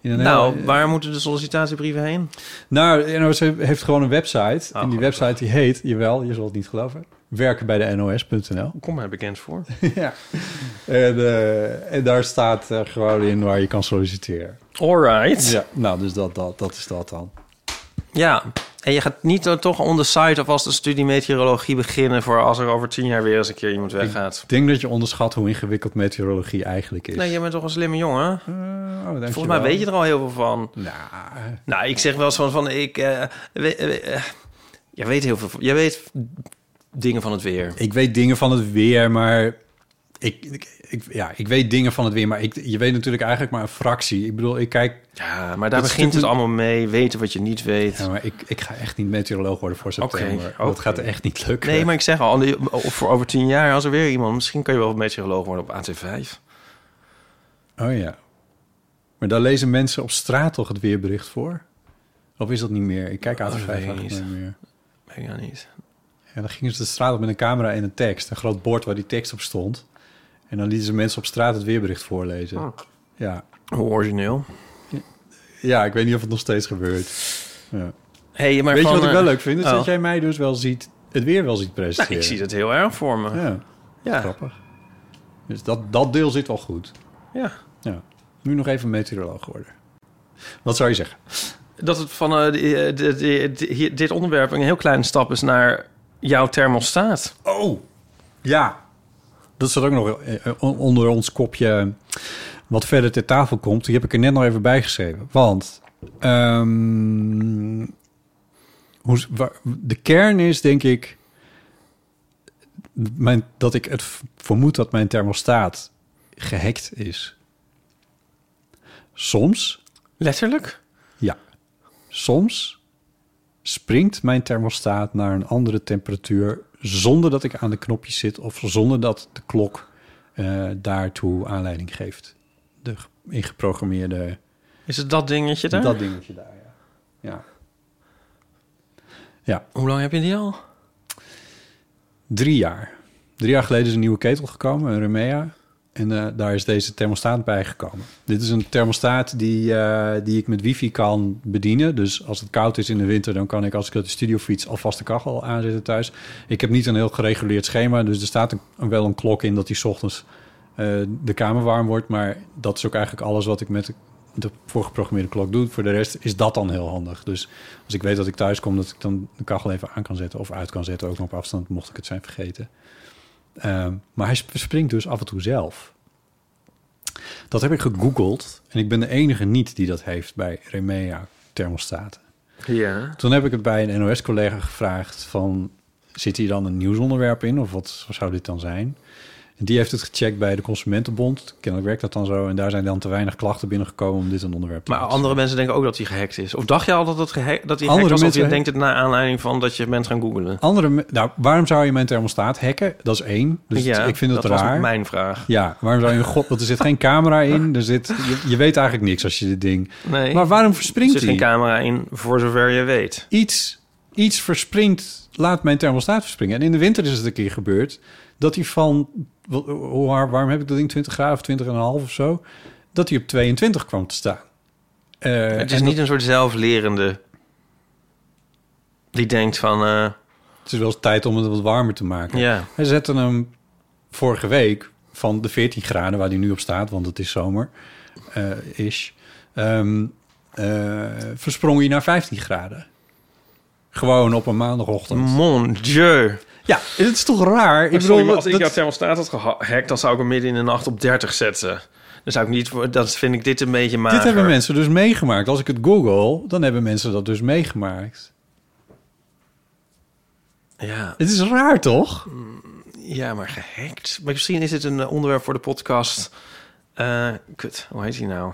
In een nou, heel- waar moeten de sollicitatiebrieven heen? nou, de NOS heeft gewoon een Oh, website. en die website die heet, jawel, je zal het niet geloven, werkenbijdenos.nl. Kom mij bekend voor. ja. En, eh, en daar staat eh, gewoon in waar je kan solliciteren. All right. Ja, nou, dus dat, dat, dat is dat dan. Ja, en je gaat niet dan toch on the site of als de studie meteorologie beginnen... voor als er over tien jaar weer eens een keer iemand weggaat. Ik denk dat je onderschat hoe ingewikkeld meteorologie eigenlijk is. Nou, Nee, jij bent toch een slimme jongen? Nou, Volgens mij dankjewel. weet je er al heel veel van. Nou, nou ik zeg wel eens van, van ik... eh, we- we- eh, jij weet heel veel van- Jij weet dingen van het weer. Ik weet dingen van het weer, maar... Ik, ik, ik- ja, ik weet dingen van het weer, maar ik, je weet natuurlijk eigenlijk maar een fractie. Ik bedoel, ik kijk... Ja, maar daar begint het allemaal mee. Weten wat je niet weet. Ja, maar ik, ik ga echt niet meteoroloog worden voor Oké, september. Dat oké. gaat echt niet lukken. Nee, maar ik zeg al, al die- o- voor over tien jaar, als er weer iemand... Misschien kan je wel meteoroloog worden op AT5. Oh ja. Maar daar lezen mensen op straat toch het weerbericht voor? Of is dat niet meer? Ik kijk aan de Oh, dat weet vijf ik niet niet. meer. Weet ik nou niet. En dan gingen ze de straat op met een camera en een tekst. Een groot bord waar die tekst op stond. En dan lieten ze mensen op straat het weerbericht voorlezen. Oh. Ja. Hoe origineel. ja, ik weet niet of het nog steeds gebeurt. Ja. Hey, maar weet van, je wat ik eh, wel leuk vind? Is oh. dat jij mij dus wel ziet, het weer wel ziet Nou, presenteren. ik zie dat heel erg voor me. Ja, Ja. grappig. Dus dat, dat deel zit wel goed. Ja. Ja. Nu nog even meteoroloog worden. Wat zou je zeggen? Dat het van eh, de- de- de- de- hier- dit onderwerp een heel kleine stap is naar jouw thermostaat. Oh, ja. Dat staat ook nog eh, on- onder ons kopje eh, wat verder ter tafel komt. Die heb ik er net nog even bij geschreven. Want ehm, hoe, s- waar- de kern is, denk ik, mijn, dat ik het v- vermoed dat mijn thermostaat gehackt is. Soms Letterlijk? ja. Soms springt mijn thermostaat naar een andere temperatuur zonder dat ik aan de knopjes zit of zonder dat de klok eh, daartoe aanleiding geeft. De ge- ingeprogrammeerde Is het dat dingetje daar? Dat dingetje daar, ja. ja. Ja. Hoe lang heb je die al? Drie jaar. Drie jaar geleden is een nieuwe ketel gekomen, een Remea. En eh, daar is deze thermostaat bij gekomen. Dit is een thermostaat die, eh, die ik met wifi kan bedienen. Dus als het koud is in de winter, dan kan ik als ik uit de studio fiets alvast de kachel aanzetten thuis. Ik heb niet een heel gereguleerd schema, dus er staat een, wel een klok in dat die 's ochtends eh, de kamer warm wordt. Maar dat is ook eigenlijk alles wat ik met de- de voorgeprogrammeerde klok doe. Voor de rest is dat dan heel handig. Dus als ik weet dat ik thuis kom, dat ik dan de kachel even aan kan zetten of uit kan zetten, ook nog op afstand, mocht ik het zijn vergeten. Ehm, maar hij sp- springt dus af en toe zelf. Dat heb ik gegoogeld en ik ben de enige niet die dat heeft bij Remea thermostaten. Ja. Toen heb ik het bij een NOS-collega gevraagd van... zit hier dan een nieuwsonderwerp in of wat zou dit dan zijn? En die heeft het gecheckt bij de Consumentenbond. Kennelijk werkt dat dan zo. En daar zijn dan te weinig klachten binnengekomen om dit een onderwerp te Maar andere mensen denken ook dat hij gehackt is. Of dacht je al dat, het geha- dat Andere hij gehackt was? Of je mensen- denkt het naar aanleiding van dat je bent gaan googlen? Andere, me- nou, waarom zou je mijn thermostaat hacken? Dat is één. Dus Ja, het- ik vind dat, dat was raar. mijn vraag. Ja, waarom zou je... God, want er zit geen camera in. Er zit, je, je weet eigenlijk niks als je dit ding... Nee. Maar waarom verspringt Er zit hij? geen camera in, voor zover je weet. iets, iets verspringt, laat mijn thermostaat verspringen. En in de winter is het een keer gebeurd dat hij van, wa- hoe waar- waarom heb ik dat ding 20 graden of 20,5 of zo, dat hij op 22 kwam te staan. Eh, het is en niet dat- een soort zelflerende die denkt van... eh, het is wel eens tijd om het wat warmer te maken. Ja. Hij zette hem vorige week van de 14 graden waar hij nu op staat, want het is zomer, eh, is, ehm, eh, versprong hij naar 15 graden. Gewoon op een maandagochtend. Mon dieu. Ja, het is toch raar? Maar Ik sorry, bedoel, maar als ik dat- jouw thermostaat had gehackt, dan zou ik hem midden in de nacht op 30 zetten. Dan zou ik niet... voor- Dan vind ik dit een beetje mager. Dit hebben mensen dus meegemaakt. Als ik het google, dan hebben mensen dat dus meegemaakt. Ja. Het is raar, toch? Ja, maar gehackt. Maar misschien is dit een eh, onderwerp voor de podcast. Eh, kut, hoe heet hij nou?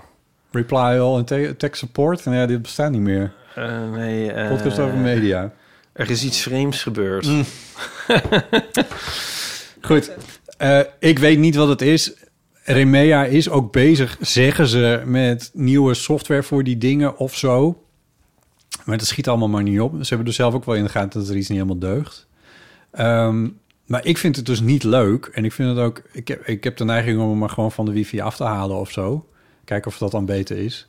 Reply all en te- tech support. Nou ja, dit bestaat niet meer. Eh, nee, eh, Podcast over media. Er is iets vreemds gebeurd. Mm. Goed. Eh, ik weet niet wat het is. Remea is ook bezig, zeggen ze, met nieuwe software voor die dingen of zo. Maar dat schiet allemaal maar niet op. Ze hebben er zelf ook wel in de gaten dat er iets niet helemaal deugt. Ehm, maar ik vind het dus niet leuk. En ik vind het ook... Ik heb, ik heb de neiging om hem maar gewoon van de wifi af te halen of zo. Kijken of dat dan beter is.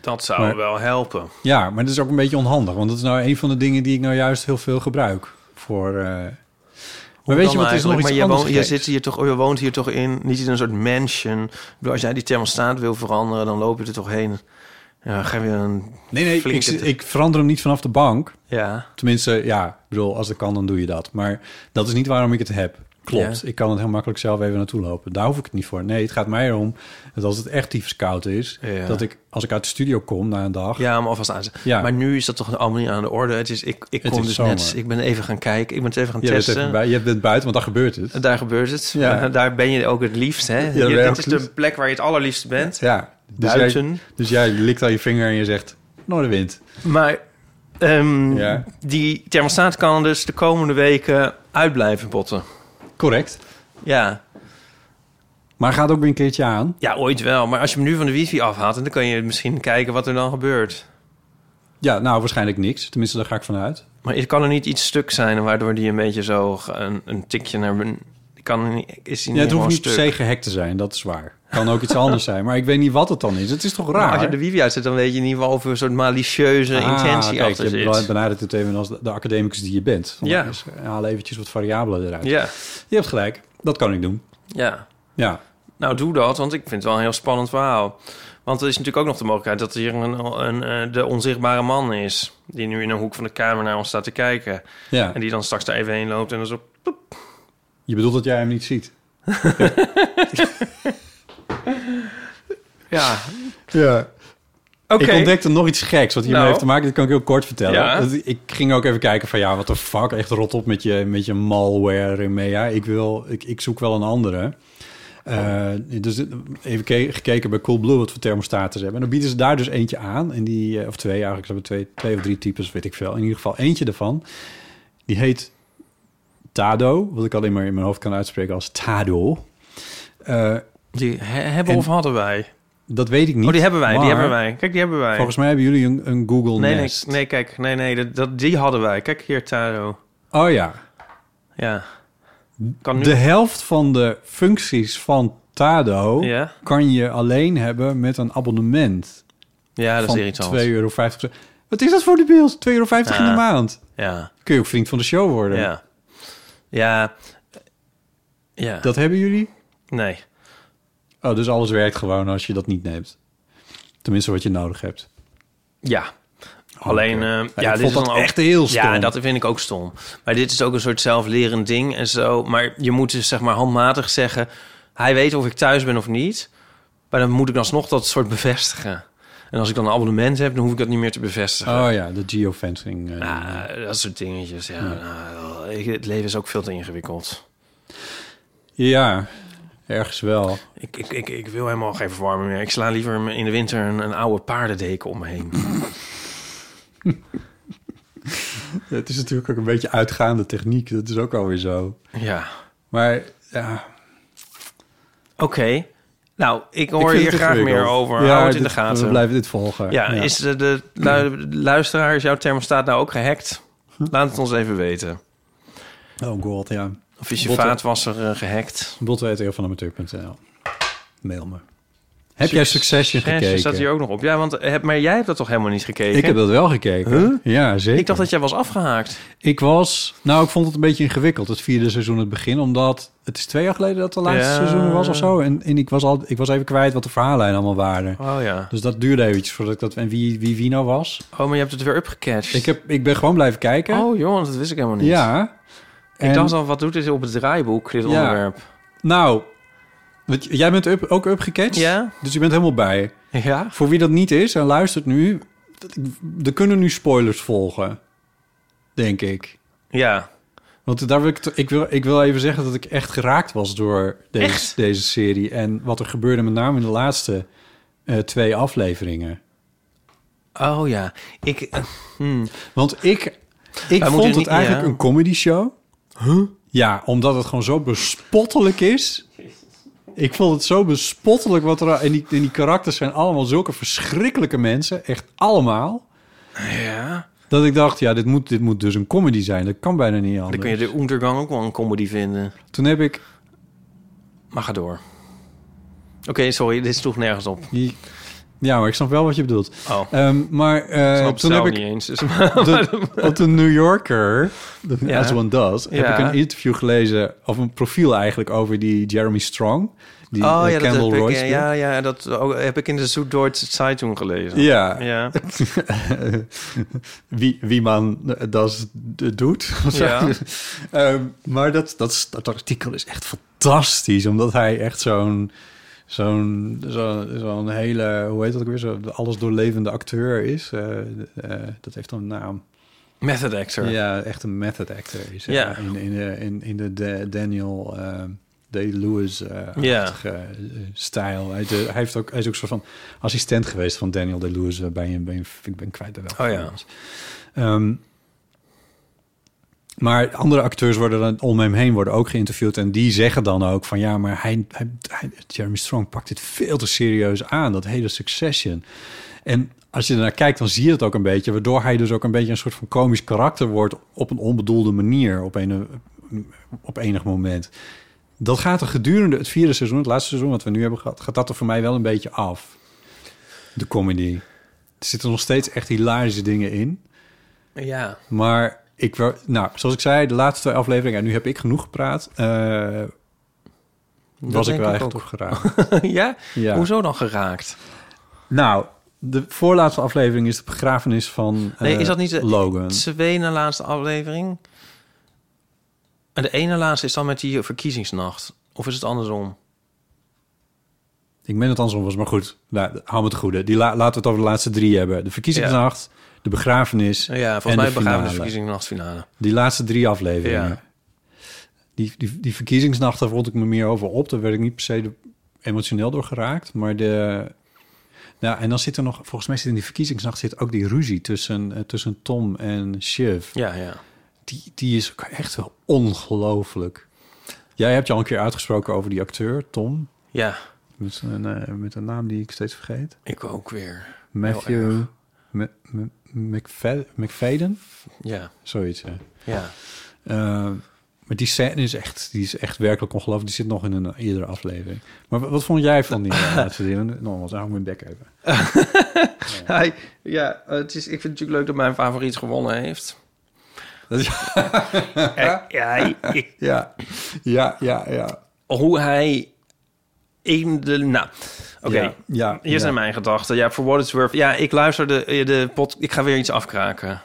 Dat zou Maar- wel helpen. Ja, maar dat is ook een beetje onhandig. Want dat is nou een van de dingen die ik nou juist heel veel gebruik. Voor... eh, Maar weet je Dan wat, er is nog eigenlijk, iets maar je, anders woont, je, geks. zit hier toch, je woont hier toch in, niet in een soort mansion. Ik bedoel, Als jij die thermostaat wil veranderen, dan loop je er toch heen. Ja, geef je een Nee, nee, ik, flinke... zit- ik verander hem niet vanaf de bank. Ja. Tenminste, ja, ik bedoel, als dat kan, dan doe je dat. Maar dat is niet waarom ik het heb. Klopt, Ja. ik kan het heel makkelijk zelf even naartoe lopen. Daar hoef ik het niet voor. Nee, het gaat mij erom dat als het echt tyfus koud is... Ja. dat ik, als ik uit de studio kom na een dag... Ja, maar alvast aan. Ja. Maar nu is dat toch allemaal niet aan de orde. Het is, ik ik Het kon is dus zomer. net... Ik ben even gaan kijken. Ik ben het even gaan je, bent testen. even bij, je bent buiten, want daar gebeurt het. Daar gebeurt het. Ja. Eh, Daar ben je ook het liefst. Hè? ben Je- je ook dit is het liefst. de plek waar je het allerliefst bent. Ja, dus Buiten. jij, dus jij likt al je vinger en je zegt... Noordenwind. Maar ehm, Ja. die thermostaat kan dus de komende weken uitblijven botten. Correct. Ja. Maar gaat ook weer een keertje aan. ja, ooit wel. Maar als je hem nu van de wifi afhaalt... dan kan je misschien kijken wat er dan gebeurt. Ja, nou, waarschijnlijk niks. Tenminste, daar ga ik vanuit. Maar het kan er niet iets stuk zijn... waardoor die een beetje zo ge- een, een tikje naar beneden... Kan er niet, is die Ja, het hoeft niet per stuk. se gehackt te zijn, dat is waar. Kan ook iets anders zijn, maar ik weet niet wat het dan is. Het is toch raar? Ah, Maar Als je de wifi uitzet, dan weet je in ieder geval... of er een soort malicieuze intentie kijk, achter Je hebt zit. benadert het even als de, de academicus die je bent. Van, Ja. dus, eh, haal eventjes wat variabelen eruit. Ja. Je hebt gelijk, dat kan ik doen. Ja. Ja. Nou, doe dat, want ik vind het wel een heel spannend verhaal. Want er is natuurlijk ook nog de mogelijkheid dat hier een, een, eh, de onzichtbare man is. Die nu in een hoek van de kamer naar ons staat te kijken. Ja. En die dan straks daar even heen loopt en dan zo... Je bedoelt dat jij hem niet ziet? Ja, Ja. Oké. Ik ontdekte nog iets geks wat hiermee Nou. heeft te maken. Dat kan ik heel kort vertellen. Ja. Dat- Ik ging ook even kijken van ja, wat de fuck. Echt rot op met je, met je malware, Remea. Ik, wil, ik, ik zoek wel een andere. Eh, dus eh, even ke- gekeken bij Coolblue wat voor thermostaten ze hebben. En dan bieden ze daar dus eentje aan. En die, eh, of twee eigenlijk, ze hebben twee, twee of drie types, weet ik veel. In ieder geval eentje daarvan. Die heet Tado, wat ik alleen maar in mijn hoofd kan uitspreken als Tado. Eh, die hebben of hadden wij? Dat weet ik niet. Oh, die hebben wij, die maar hebben wij. Kijk, die hebben wij. Volgens mij hebben jullie een, een Google nee, nee, Nest. nee, kijk, nee, nee, dat, dat- die hadden wij. Kijk hier, Taro. Oh ja. Ja. Kan nu... De helft van de functies van Tado Ja. kan je alleen hebben met een abonnement. Ja, dat is van irritant. 2,50 euro. Wat is dat voor de beeld? 2,50 euro in de Ja. maand. Ja, Kun je ook vriend van de show worden. ja. Ja. Ja. Dat hebben jullie? Nee. Oh, dus alles werkt gewoon als je dat niet neemt. Tenminste wat je nodig hebt. Ja. Alleen, eh, ja, Oh, ik dit vond is dat dan ook, echt heel stom. Ja, dat vind ik ook stom. Maar dit is ook een soort zelflerend ding en zo. Maar je moet dus zeg maar handmatig zeggen... hij weet of ik thuis ben of niet. Maar dan moet ik alsnog dat soort bevestigen. En als ik dan een abonnement heb, dan hoef ik dat niet meer te bevestigen. Oh ja, de geofencing. eh. Nou, dat soort dingetjes, ja. Nou, ik- het leven is ook veel te ingewikkeld. Ja, ergens wel. Ik, ik, ik, ik wil helemaal geen verwarming meer. Ik sla liever in de winter een, een oude paardendeken om me heen. Het is natuurlijk ook een beetje uitgaande techniek. Dat is ook alweer zo. Ja. Maar ja, Oké. Nou, ik Ik hoor vind hier het graag meer ingewikkeld. over. Ja, Hou het in dit- de gaten. we blijven dit volgen. Ja, Ja. is de, de lu- luisteraar, is jouw thermostaat nou ook gehackt? Hm? Laat het ons even weten. oh god, ja. Of is je Botte- vaatwasser eh, gehackt? Botweteel van amateur.nl. Mail me. Heb jij Succession gekeken? staat hier ook nog op. Ja, want eh, heb, maar jij hebt dat toch helemaal niet gekeken? Ik heb dat wel gekeken. Ja, zeker. Ik dacht dat jij was afgehaakt. Ik was... Nou, ik vond het een beetje ingewikkeld, het vierde seizoen, het begin. Omdat het is twee jaar geleden dat de laatste Ja. seizoen was of zo. En, en ik, was al, ik was even kwijt wat de verhaallijnen allemaal waren. Oh ja. Dus dat duurde eventjes voordat ik dat... En wie wie, wie nou was. Oh, maar je hebt het weer upgecatcht. Ik, heb, ik ben gewoon blijven kijken. Oh jongens, dat wist ik helemaal niet. Ja. Ik En- dacht al, wat doet dit op het draaiboek, dit Ja. onderwerp? Nou, want j- jij bent up, ook upgecatcht. Ja. Dus je bent helemaal bij. Ja. Voor wie dat niet is en luistert nu... dat- Er kunnen nu spoilers volgen. Denk ik. Ja. Want daar wil ik, t- ik, wil, ik wil even zeggen dat ik echt geraakt was door deze, Echt? deze serie. En wat er gebeurde met name in de laatste eh, twee afleveringen. Oh ja. Ik... eh, hmm. Want ik, ik moeten vond het niet- eigenlijk ja. een comedy show. Ja, omdat het gewoon zo bespottelijk is. Ik vond het zo bespottelijk wat er... En die, en die karakters zijn allemaal zulke verschrikkelijke mensen. Echt allemaal. Ja. Dat ik dacht, ja, dit moet, dit moet dus een comedy zijn. Dat kan bijna niet Dan anders. kun je de Untergang ook wel een comedy vinden. Toen heb ik... Maar ga door. Oké, sorry, dit sloeg nergens op. Die, ja, maar ik snap wel wat je bedoelt. Oh. Ehm, maar eh, snap het toen heb zelf ik niet eens, dus- de, op de New Yorker, de, Ja. as one does, heb Ja. ik een interview gelezen of een profiel eigenlijk over die Jeremy Strong, die oh eh, ja, dat Kendall heb ik, Royce. eh, ja, ja, dat ook- heb ik in de Süddeutsche Zeitung gelezen. Ja. Ja. wie, wie man dat doet. of zo. Ja. Ehm, maar dat, dat, dat artikel is echt fantastisch, omdat hij echt zo'n zo'n zo, zo'n hele, hoe heet dat ook weer, zo'n alles doorlevende acteur is. Eh, eh, dat heeft dan een naam. Method actor. Ja, echt een method actor is. Ja. Ja. In, in, de- in, in de Da- Daniel eh, Day-Lewis-achtige Ja. eh, stijl. Hij, de- hij, heeft ook, hij is ook soort van assistent geweest van Daniel Day-Lewis. eh, bij een, bij een, ik ben kwijt bij welke Oh ja. film het was. Ehm, maar andere acteurs worden dan om hem heen worden ook geïnterviewd. En die zeggen dan ook van ja, maar hij, hij, hij- Jeremy Strong pakt dit veel te serieus aan. Dat hele Succession. En als je ernaar kijkt, dan zie je het ook een beetje. Waardoor hij dus ook een beetje een soort van komisch karakter wordt. op een onbedoelde manier. op, een, op enig moment. Dat gaat er gedurende het vierde seizoen, het laatste seizoen wat we nu hebben gehad. gaat dat er voor mij wel een beetje af. De comedy. Er zitten nog steeds echt hilarische dingen in. Ja. Maar ik wou, nou, zoals ik zei, de laatste twee afleveringen, en nu heb ik genoeg gepraat. eh, was ik denk wel ik echt ook. opgeraakt. ja? Ja. Hoezo dan geraakt? nou, de voorlaatste aflevering is de begrafenis van Nee, eh, is dat niet de Logan. twee na laatste aflevering? En de ene laatste is dan met die verkiezingsnacht. Of is het andersom? Ik meen dat het andersom was, maar goed, nou, hou me het goede. Die la- laten we het over de laatste drie hebben. De verkiezingsnacht, de begrafenis Ja, en volgens de mij begaan we de finale. verkiezingsnachtfinale. Die laatste drie afleveringen. die, die, die verkiezingsnacht, daar vond ik me meer over op. Daar werd ik niet per se de- emotioneel door geraakt. Maar de. Nou, en dan zit er nog, volgens mij zit in die verkiezingsnacht zit ook die ruzie tussen, eh, tussen Tom en Shiv. Ja, ja. Die, die is ook echt wel ongelooflijk. Jij hebt je al een keer uitgesproken over die acteur, Tom. Ja. Met een, eh, met een naam die ik steeds vergeet. Ik ook weer. Heel Matthew erg. Ma- Ma- McFad- McFadden? Ja. Zoiets, hè? Ja. Eh, maar die scène is echt, die is echt werkelijk ongelooflijk. Die zit nog in een eerdere aflevering. Maar wat, wat vond jij van die eh, laatste zin? Nogmaals, hou ik mijn bek even. Hij, ja, het is, ik vind het natuurlijk leuk dat mijn favoriet gewonnen heeft. ja, ja, ik- Ja, ja, ja. ja. Hoe hij in de... Nou, oké. Ja, ja, Hier zijn ja. mijn gedachten. Ja, for what it's worth. Ja, ik luister de, de pot... Ik ga weer iets afkraken.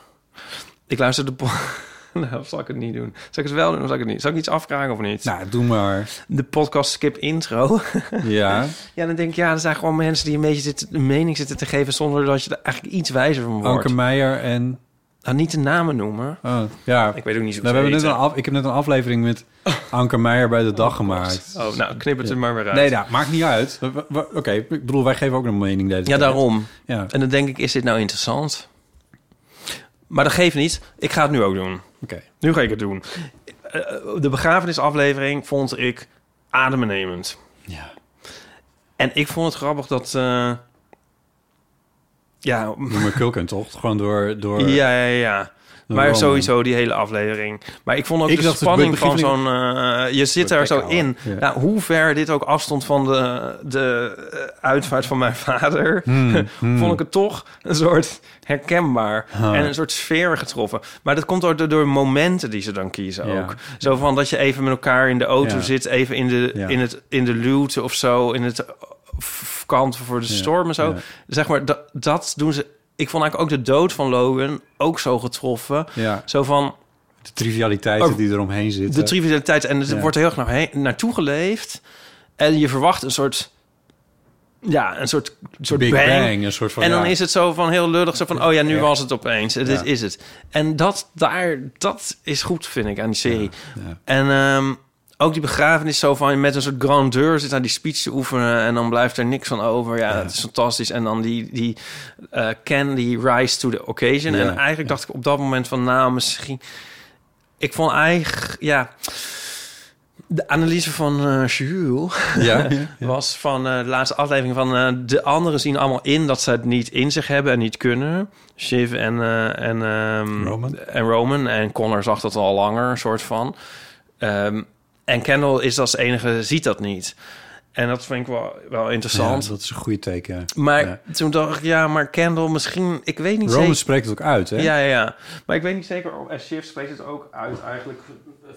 Ik luister de pot... Nou, of zal ik het niet doen? Zal ik het wel doen of zal ik het niet? Zal ik iets afkraken of niet? Nou, doe maar. De podcast skip intro. Ja. Ja, dan denk ik, ja, er zijn gewoon mensen die een beetje zitten, een mening zitten te geven... zonder dat je er eigenlijk iets wijzer van wordt. Anke Meijer en... Nou, niet de namen noemen. Oh, ja. Ik weet ook niet zo Nou, we hebben goed net eten. een af, ik heb net een aflevering met Anke Meijer bij de dag gemaakt. Oh, nou, knip het er maar weer uit. Nee, dat maakt niet uit. We- we- we- Oké, ik bedoel, wij geven ook een mening deze Ja, tijd. daarom. Ja. En dan denk ik, is dit nou interessant? Maar dat geeft niet. Ik ga het nu ook doen. Oké. Nu ga ik het doen. Eh, eh, De begrafenisaflevering vond ik adembenemend. Ja. En ik vond het grappig dat... eh, ja, Noem maar Kulken, toch? Gewoon door... door ja, ja, ja. Door Maar Roman. sowieso die hele aflevering. Maar ik vond ook Ik de dacht, het spanning van begin- zo'n... eh, je zit daar zo in. Ja. Nou, hoe ver dit ook afstond van de, de eh, uitvaart van mijn vader... Hmm, hmm. vond ik het toch een soort herkenbaar. Ah. En een soort sfeer getroffen. Maar dat komt ook door, door momenten die ze dan kiezen Ja. ook. Zo van dat je even met elkaar in de auto Ja. zit... even in de, Ja. in, het, in de luwte of zo... in het eh, f- kant voor de Ja. storm en zo. Ja. Zeg maar, dat, dat doen ze... Ik vond eigenlijk ook de dood van Logan ook zo getroffen. Ja. Zo van De trivialiteiten Oh, die eromheen zitten. de trivialiteit. En het Ja. wordt er heel erg naar heen- naartoe geleefd. En je verwacht een soort... Ja, een soort, soort Big Bang. een soort van... en dan ja. is het zo van heel lullig, zo van... oh ja, nu Ja. was het opeens, dit Ja. is het. En dat, daar, dat is goed, vind ik, aan die serie. ja. En ehm, ook die begrafenis zo van... je met een soort grandeur zit aan die speech te oefenen... en dan blijft er niks van over. Ja, het is fantastisch. En dan die, die eh Ken, die rise to the occasion. Ja. En eigenlijk dacht ik op dat moment van... nou, misschien... Ik vond eigenlijk, ja... De analyse van eh Jules Ja, ja, was van eh, de laatste aflevering van... eh, de anderen zien allemaal in dat ze het niet in zich hebben en niet kunnen. Shiv en, eh, en, ehm, Roman. en Roman. En Connor zag dat al langer, een soort van. Ehm, en Kendall is als enige, ziet dat niet. En dat vind ik wel, wel interessant. Ja, dat is een goede teken. Maar Ja. toen dacht ik, ja, maar Kendall misschien... Ik weet niet Roman zeker. spreekt het ook uit, hè? Ja, ja, ja. Maar ik weet niet zeker... of- En Shiv spreekt het ook uit eigenlijk eh,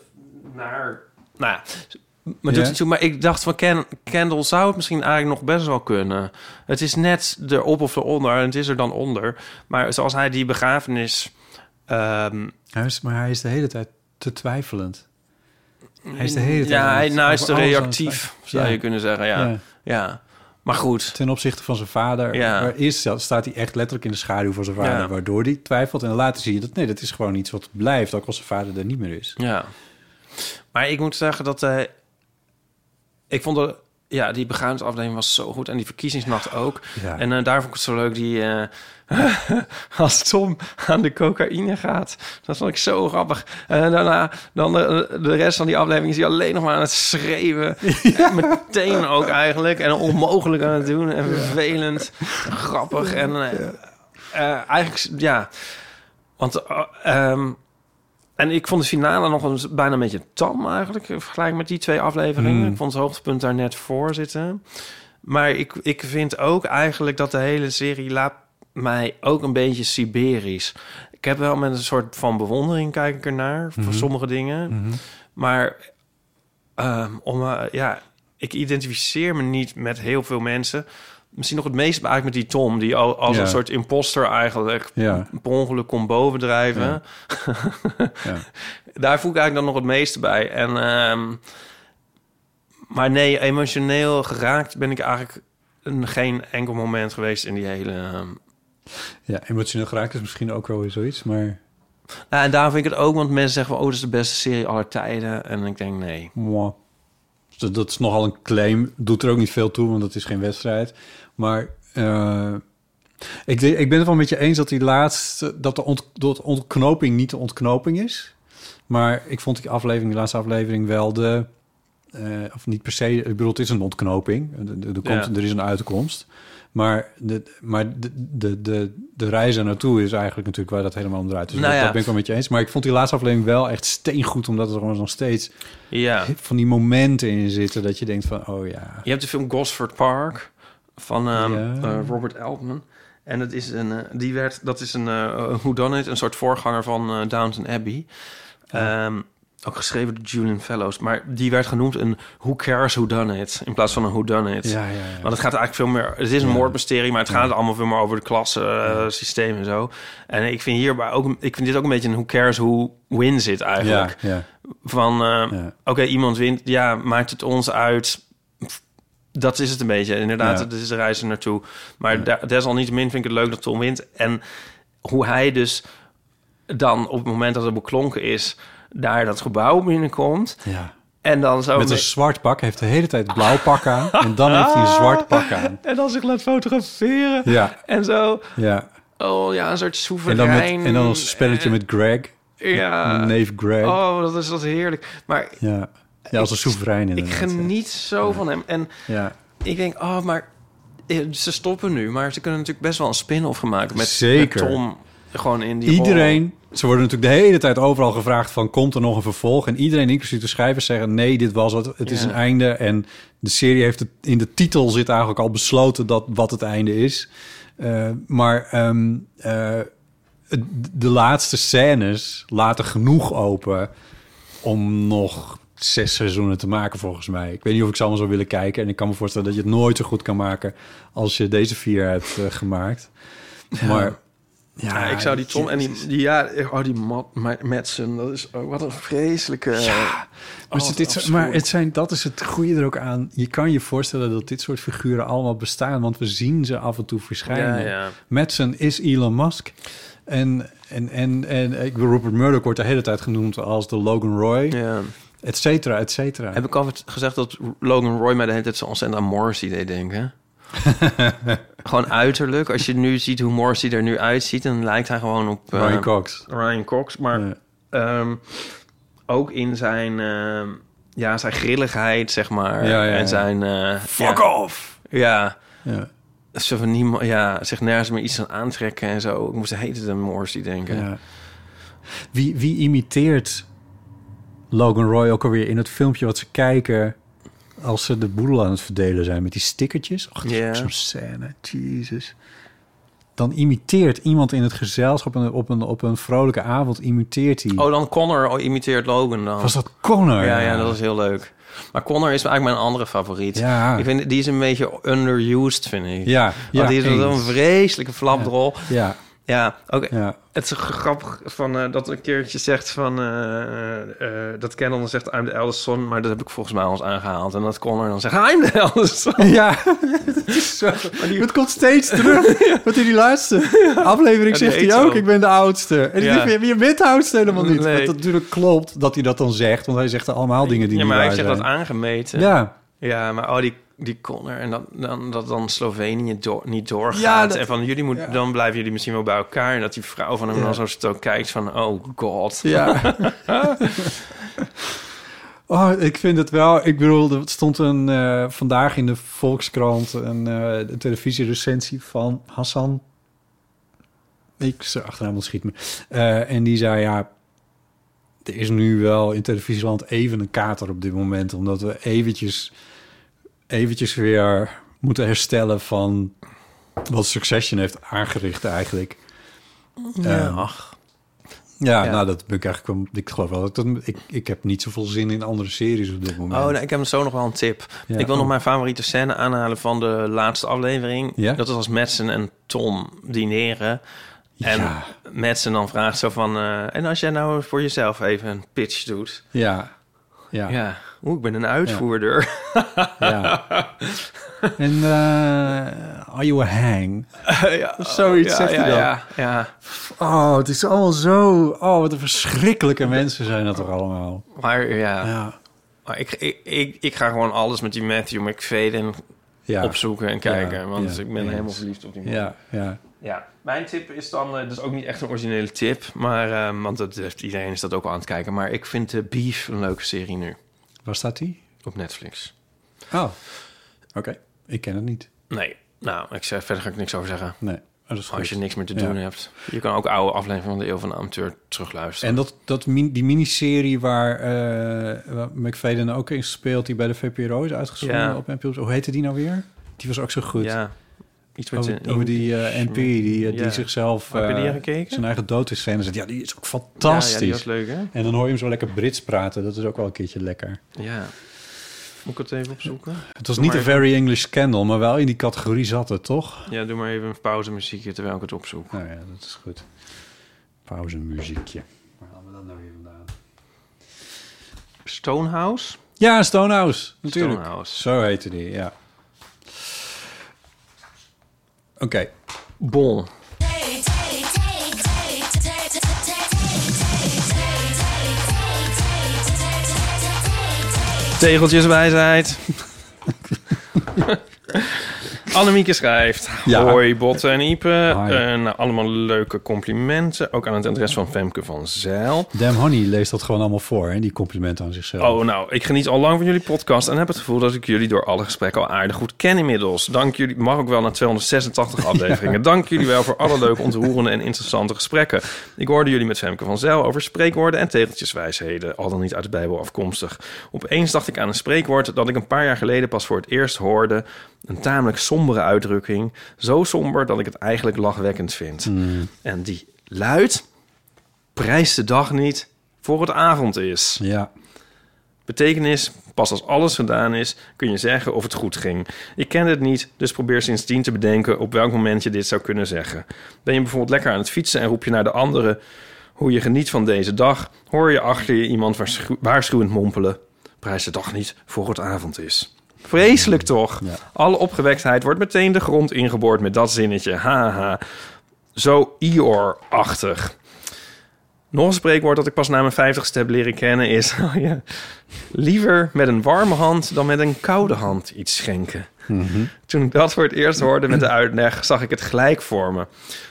naar... Nou ja, maar, doet Ja. het toe, maar ik dacht van Ken, Kendall zou het misschien eigenlijk nog best wel kunnen. Het is net erop of eronder en het is er dan onder. Maar zoals hij die begrafenis... ehm, Hij is, maar hij is de hele tijd te twijfelend. Hij is de hele tijd... ja, aan hij, het- nou, hij is over te alles aan het reactief, twijfelen. zou Ja. je kunnen zeggen. Ja, Ja. ja. Maar goed. Ten opzichte van zijn vader. Ja. Waar eerst sta- staat hij echt letterlijk in de schaduw van zijn vader... Ja. waardoor hij twijfelt. En later zie je dat... nee, dat is gewoon iets wat blijft... ook als zijn vader er niet meer is. Ja. Maar ik moet zeggen dat... eh, ik vond de, ja, die begrafenisafdeling was zo goed. En die verkiezingsnacht ook. Ja. En eh, daar vond ik het zo leuk. Die, eh, als Tom aan de cocaïne gaat. Dat vond ik zo grappig. En daarna, dan eh, de, de rest van die aflevering is hij alleen nog maar aan het schreeuwen. En Meteen ook eigenlijk. En onmogelijk aan het doen. En vervelend. Grappig. En eh, eh, eigenlijk, ja... Want eh, ehm, en ik vond de finale nog eens bijna een beetje tam eigenlijk... in vergelijking met die twee afleveringen. Hmm. Ik vond het hoogtepunt daar net voor zitten. Maar ik, ik vind ook eigenlijk dat de hele serie laat mij ook een beetje Siberisch. Ik heb wel met een soort van bewondering kijk ik ernaar... Mhm. voor sommige dingen. Maar ehm, om, eh, ja, ik identificeer me niet met heel veel mensen... Misschien nog het meest eigenlijk met die Tom... die al, als Ja. een soort imposter eigenlijk Ja. per ongeluk kon bovendrijven. Ja. Ja. Daar voel ik eigenlijk dan nog het meeste bij. En, ehm, maar nee, emotioneel geraakt ben ik eigenlijk een- geen enkel moment geweest in die hele... ehm, Ja, emotioneel geraakt is misschien ook wel weer zoiets, maar... Ja, Nou, en daarom vind ik het ook, want mensen zeggen van... oh, dat is de beste serie aller tijden. En ik denk, nee. Mwah. Dus dat is nogal een claim. Doet er ook niet veel toe, want het is geen wedstrijd. Maar eh, ik, de- ik ben het wel met je eens dat die laatste... dat de ont, dat ontknoping niet de ontknoping is. Maar ik vond die aflevering, die laatste aflevering wel de... eh, of niet per se, ik bedoel, het is een ontknoping. Er- Er, er komt, Ja. er is een uitkomst. Maar, de, maar de, de, de, de reis er naartoe is eigenlijk natuurlijk waar dat helemaal om draait. Dus Nou dat, ja. dat ben ik wel met je eens. Maar ik vond die laatste aflevering wel echt steengoed... omdat er gewoon nog steeds Ja. van die momenten in zitten dat je denkt van, oh ja. Je hebt de film Gosford Park van ehm, Ja. eh, Robert Altman. En dat is een, eh, die werd, dat is een eh whodunit, een soort voorganger van eh, Downton Abbey. Ehm, ook geschreven door Julian Fellows. Maar die werd genoemd een who cares who done it. In plaats van een who done it. Ja, ja, ja. Want het gaat eigenlijk veel meer... Het is een moordmysterie, maar het gaat allemaal veel meer over de klassensysteem systeem en zo. En ik vind, hierbij ook, ik vind dit ook een beetje een who cares who wins it eigenlijk. Ja, ja. Van, eh, oké, iemand wint. Ja, maakt het ons uit. Dat is het een beetje. Inderdaad, Ja. dat is de reis er naartoe. Maar da- desalniettemin vind ik het leuk dat Tom wint. En hoe hij dus dan op het moment dat het beklonken is... daar dat gebouw binnenkomt. Ja. En dan zo... Met een mee- zwart pak, heeft de hele tijd een blauw pak aan. En dan heeft hij een zwart pak aan. En dan zich laat fotograferen. Ja. En zo... Ja. Oh ja, een soort En soeverein. dan, met, en dan een spelletje met Greg. eh, Ja. Met Neef Greg. Oh, dat is dat heerlijk. Maar Ja. ja, als een soeverein ik inderdaad. geniet zo van hem. En Ja. ik denk, oh, maar eh, ze stoppen nu. Maar ze kunnen natuurlijk best wel een spin-off gaan maken met, Zeker. met Tom. Gewoon in die Iedereen, ze worden natuurlijk de hele tijd overal gevraagd van... komt er nog een vervolg? En iedereen, inclusief de schrijvers, zeggen... nee, dit was het, het is Ja. een einde. En de serie heeft het, in de titel zit eigenlijk al besloten... Dat, wat het einde is. Eh, maar ehm, eh, het- de laatste scènes laten genoeg open... om nog zes seizoenen te maken, volgens mij. Ik weet niet of ik ze allemaal zou willen kijken. En ik kan me voorstellen dat je het nooit zo goed kan maken... als je deze vier hebt eh, gemaakt. Maar... rol. Ja, ik zou die Tom en die, die ja, oh, die Matt, Ma- Madsen, dat is ook wat een vreselijke... Ja, Maar, het, dit, soort- maar het zijn, dat is het goede er ook aan. Je kan je voorstellen dat dit soort figuren allemaal bestaan, want we zien ze af en toe verschijnen. Ja, ja. Madsen is Elon Musk. En, en, en, en ik bedoel, Rupert Murdoch wordt de hele tijd genoemd als de Logan Roy. Et cetera, et cetera. Heb ik al wat gezegd dat Logan Roy mij de hele tijd zo ontzettend aan Morrissey deed denken? gewoon uiterlijk. Als je nu ziet hoe Morrissey er nu uitziet, dan lijkt hij gewoon op... eh, Ryan Cox. Ryan Cox, maar ehm, ook in zijn, ehm, ja, zijn grilligheid, zeg maar. Ja, ja, ja. En zijn... eh, Fuck ja. off! Ja. Ja. Zo van niemand, ja, zich nergens meer iets aan aantrekken en zo. Ik moest de hele tijd aan Morrissey denken. Ja. Wie, wie imiteert Logan Roy ook alweer in het filmpje wat ze kijken... als ze de boedel aan het verdelen zijn met die stickertjes? Och, dat is Ja. ook zo'n scène. Jezus. Dan imiteert iemand in het gezelschap op een, op een, op een vrolijke avond... imiteert hij... Oh, dan Connor imiteert Logan dan. Was dat Connor? Ja, ja, dat is heel leuk. Maar Connor is eigenlijk mijn andere favoriet. Ja. Ik vind, die is een beetje underused, vind ik. Ja, ja, Want die is wel een eens. vreselijke flapdrol. Ja. Ja, ook. Ja. Het is grappig van, eh, dat een keertje zegt van... eh, eh, dat Kenan dan zegt, I'm the eldest son. Maar dat heb ik volgens mij al eens aangehaald. En dat Connor dan zegt, I'm the eldest son. Ja, het is zo. Het komt steeds terug. Want in die laatste aflevering Ja, die zegt heet hij zo. ook... ik ben de oudste. En ik Ja. denk, je bent de oudste helemaal niet. Nee. Wat natuurlijk klopt dat hij dat dan zegt... want hij zegt allemaal dingen die Ja, niet maar hij waar heeft zich zijn. dat aangemeten. Ja. Ja, maar oh, die, die Connor. En dan, dan, dat dan Slovenië door, niet doorgaat. Ja, dat- en van, jullie moet, dan blijven jullie misschien wel bij elkaar. En dat die vrouw van hem Ja. dan zo stok kijkt van, oh god. Ja. Oh, ik vind het wel. Ik bedoel, er stond een, eh, vandaag in de Volkskrant een eh televisierecensie van Hassan. Ik ze achternaam ontschiet me. Eh, en die zei: Ja, er is nu wel in televisieland even een kater op dit moment. Omdat we eventjes, eventjes weer moeten herstellen van wat Succession heeft aangericht eigenlijk. Ja. Eh, ja, Ja. nou dat ben ik eigenlijk wel. Ik geloof wel dat dat- ik, ik heb niet zoveel zin in andere series op dit moment. Oh, nee, ik heb zo nog wel een tip. Ja, ik wil nog oh. mijn favoriete scène aanhalen van de laatste aflevering. Ja? Dat is als Madsen en Tom dineren. En Ja. Madsen dan vraagt zo van... eh, en als jij nou voor jezelf even een pitch doet... Ja. Ja. Oeh, ik ben een uitvoerder. Ja. En eh are you a hang? Of zoiets ja, zegt hij ja, dan. ja, ja. Oh, het is allemaal zo... Oh, wat een verschrikkelijke mensen zijn dat toch allemaal. Maar ja. Ja. Maar ik, ik, ik, ik ga gewoon alles met die Matthew McFadden Ja. opzoeken en kijken. Ja, want ja, ik ben eens. helemaal verliefd op die man. Ja, ja. Ja, mijn tip is dan, eh, dus ook niet echt een originele tip, maar, eh, want dat, heeft- iedereen is dat ook al aan het kijken. Maar ik vind eh, Beef een leuke serie nu Waar staat die? op Netflix. Oh, oké. Ik ken het niet. Nee, nou, ik zeg, verder ga ik niks over zeggen. Nee, dat is Als je goed. niks meer te Ja. doen hebt. Je kan ook oude afleveringen van de Eeuw van de Amateur terugluisteren. En dat, dat, min- die miniserie waar eh, waar McFadden ook in speelt... die bij de VPRO is uitgezonden Ja. op NPO. Hoe heette die nou weer? Die was ook zo goed. Ja, iets met Over, een- over die eh, NP die, eh, Ja. die zichzelf... Heb je die eh, gekeken? Zijn eigen dood is scène zet. Ja, die is ook fantastisch. Ja, ja, die was leuk, hè? En dan hoor je hem zo lekker Brits praten. Dat is ook wel een keertje lekker. Ja. Moet ik het even opzoeken? Het was Doe niet maar een Very English Scandal, maar wel in die categorie zat het, toch? even- Ja, doe maar even een pauze muziekje terwijl ik het opzoek. Nou ja, dat is goed. Pauzemuziekje. Waar halen we dat nou weer vandaan? Stonehouse? Ja, Stonehouse, natuurlijk. Stonehouse. Zo heette die, ja. Oké. Bon. Tegeltjeswijsheid. Annemieke schrijft. Ja. Hoi Botte en Ipe. Hi. Eh, nou, allemaal leuke complimenten. Ook aan het adres van Femke van Zijl. Dam Honey leest dat gewoon allemaal voor, hè? die complimenten aan zichzelf. Oh, nou, ik geniet al lang van jullie podcast en heb het gevoel dat ik jullie door alle gesprekken al aardig goed ken inmiddels. Dank jullie, mag ook wel na 286 afleveringen. Dank jullie wel voor alle leuke, ontroerende en interessante gesprekken. Ik hoorde jullie met Femke van Zijl over spreekwoorden en tegeltjeswijsheden, al dan niet uit de Bijbel afkomstig. Opeens dacht ik aan een spreekwoord dat ik een paar jaar geleden pas voor het eerst hoorde. Een tamelijk sombere uitdrukking. Zo somber dat ik het eigenlijk lachwekkend vind. En die luidt: prijs de dag niet voor het avond is. Ja, Betekenis, pas als alles gedaan is, kun je zeggen of het goed ging. Ik ken het niet, dus probeer sindsdien te bedenken op welk moment je dit zou kunnen zeggen. Ben je bijvoorbeeld lekker aan het fietsen en roep je naar de anderen hoe je geniet van deze dag, hoor je achter je iemand waarschu- waarschuwend mompelen. Prijs de dag niet voor het avond is. Vreselijk toch? Alle opgewektheid wordt meteen de grond ingeboord met dat zinnetje. Haha. Zo Ior-achtig. Nog een spreekwoord dat ik pas na mijn vijftigste heb leren kennen is... Oh ja, liever met een warme hand dan met een koude hand iets schenken. Mhm. Toen ik dat voor het eerst hoorde met de uitleg, zag ik het gelijk voor me.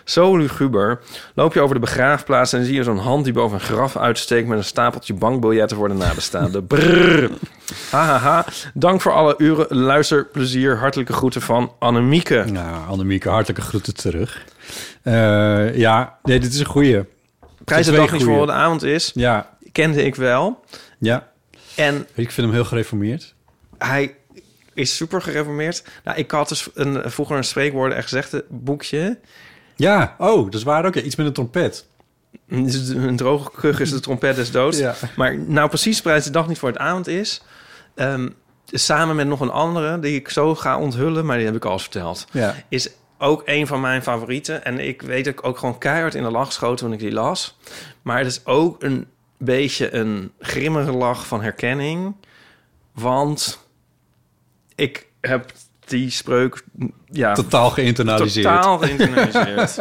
Zo luguber. Loop je over de begraafplaats en zie je zo'n hand die boven een graf uitsteekt... met een stapeltje bankbiljetten voor de nabestaanden. Brrr. Hahaha. Dank voor alle uren luisterplezier. Hartelijke groeten van Annemieke. nou, Annemieke, hartelijke groeten terug. Eh, ja, nee, dit is een goeie. Prijs de Twee dag niet goeie. voor de avond is. Ja, Kende ik wel. ja. En Ik vind hem heel gereformeerd. hij is super gereformeerd. Nou, ik had dus een, vroeger een spreekwoorden en gezegde boekje. Ja, oh, dat is waar ook. ja. Iets met een trompet. Een droge kuch is de trompet des doods. Ja. Maar nou precies prijs de dag niet voor het avond is. Ehm, samen met nog een andere die ik zo ga onthullen, maar die heb ik al eens verteld. Ja. Is ook een van mijn favorieten. En ik weet dat ik ook gewoon keihard in de lach schoot toen ik die las. Maar het is ook een beetje een grimmige lach van herkenning. Want ik heb die spreuk ja, Totaal geïnternaliseerd. totaal geïnternaliseerd.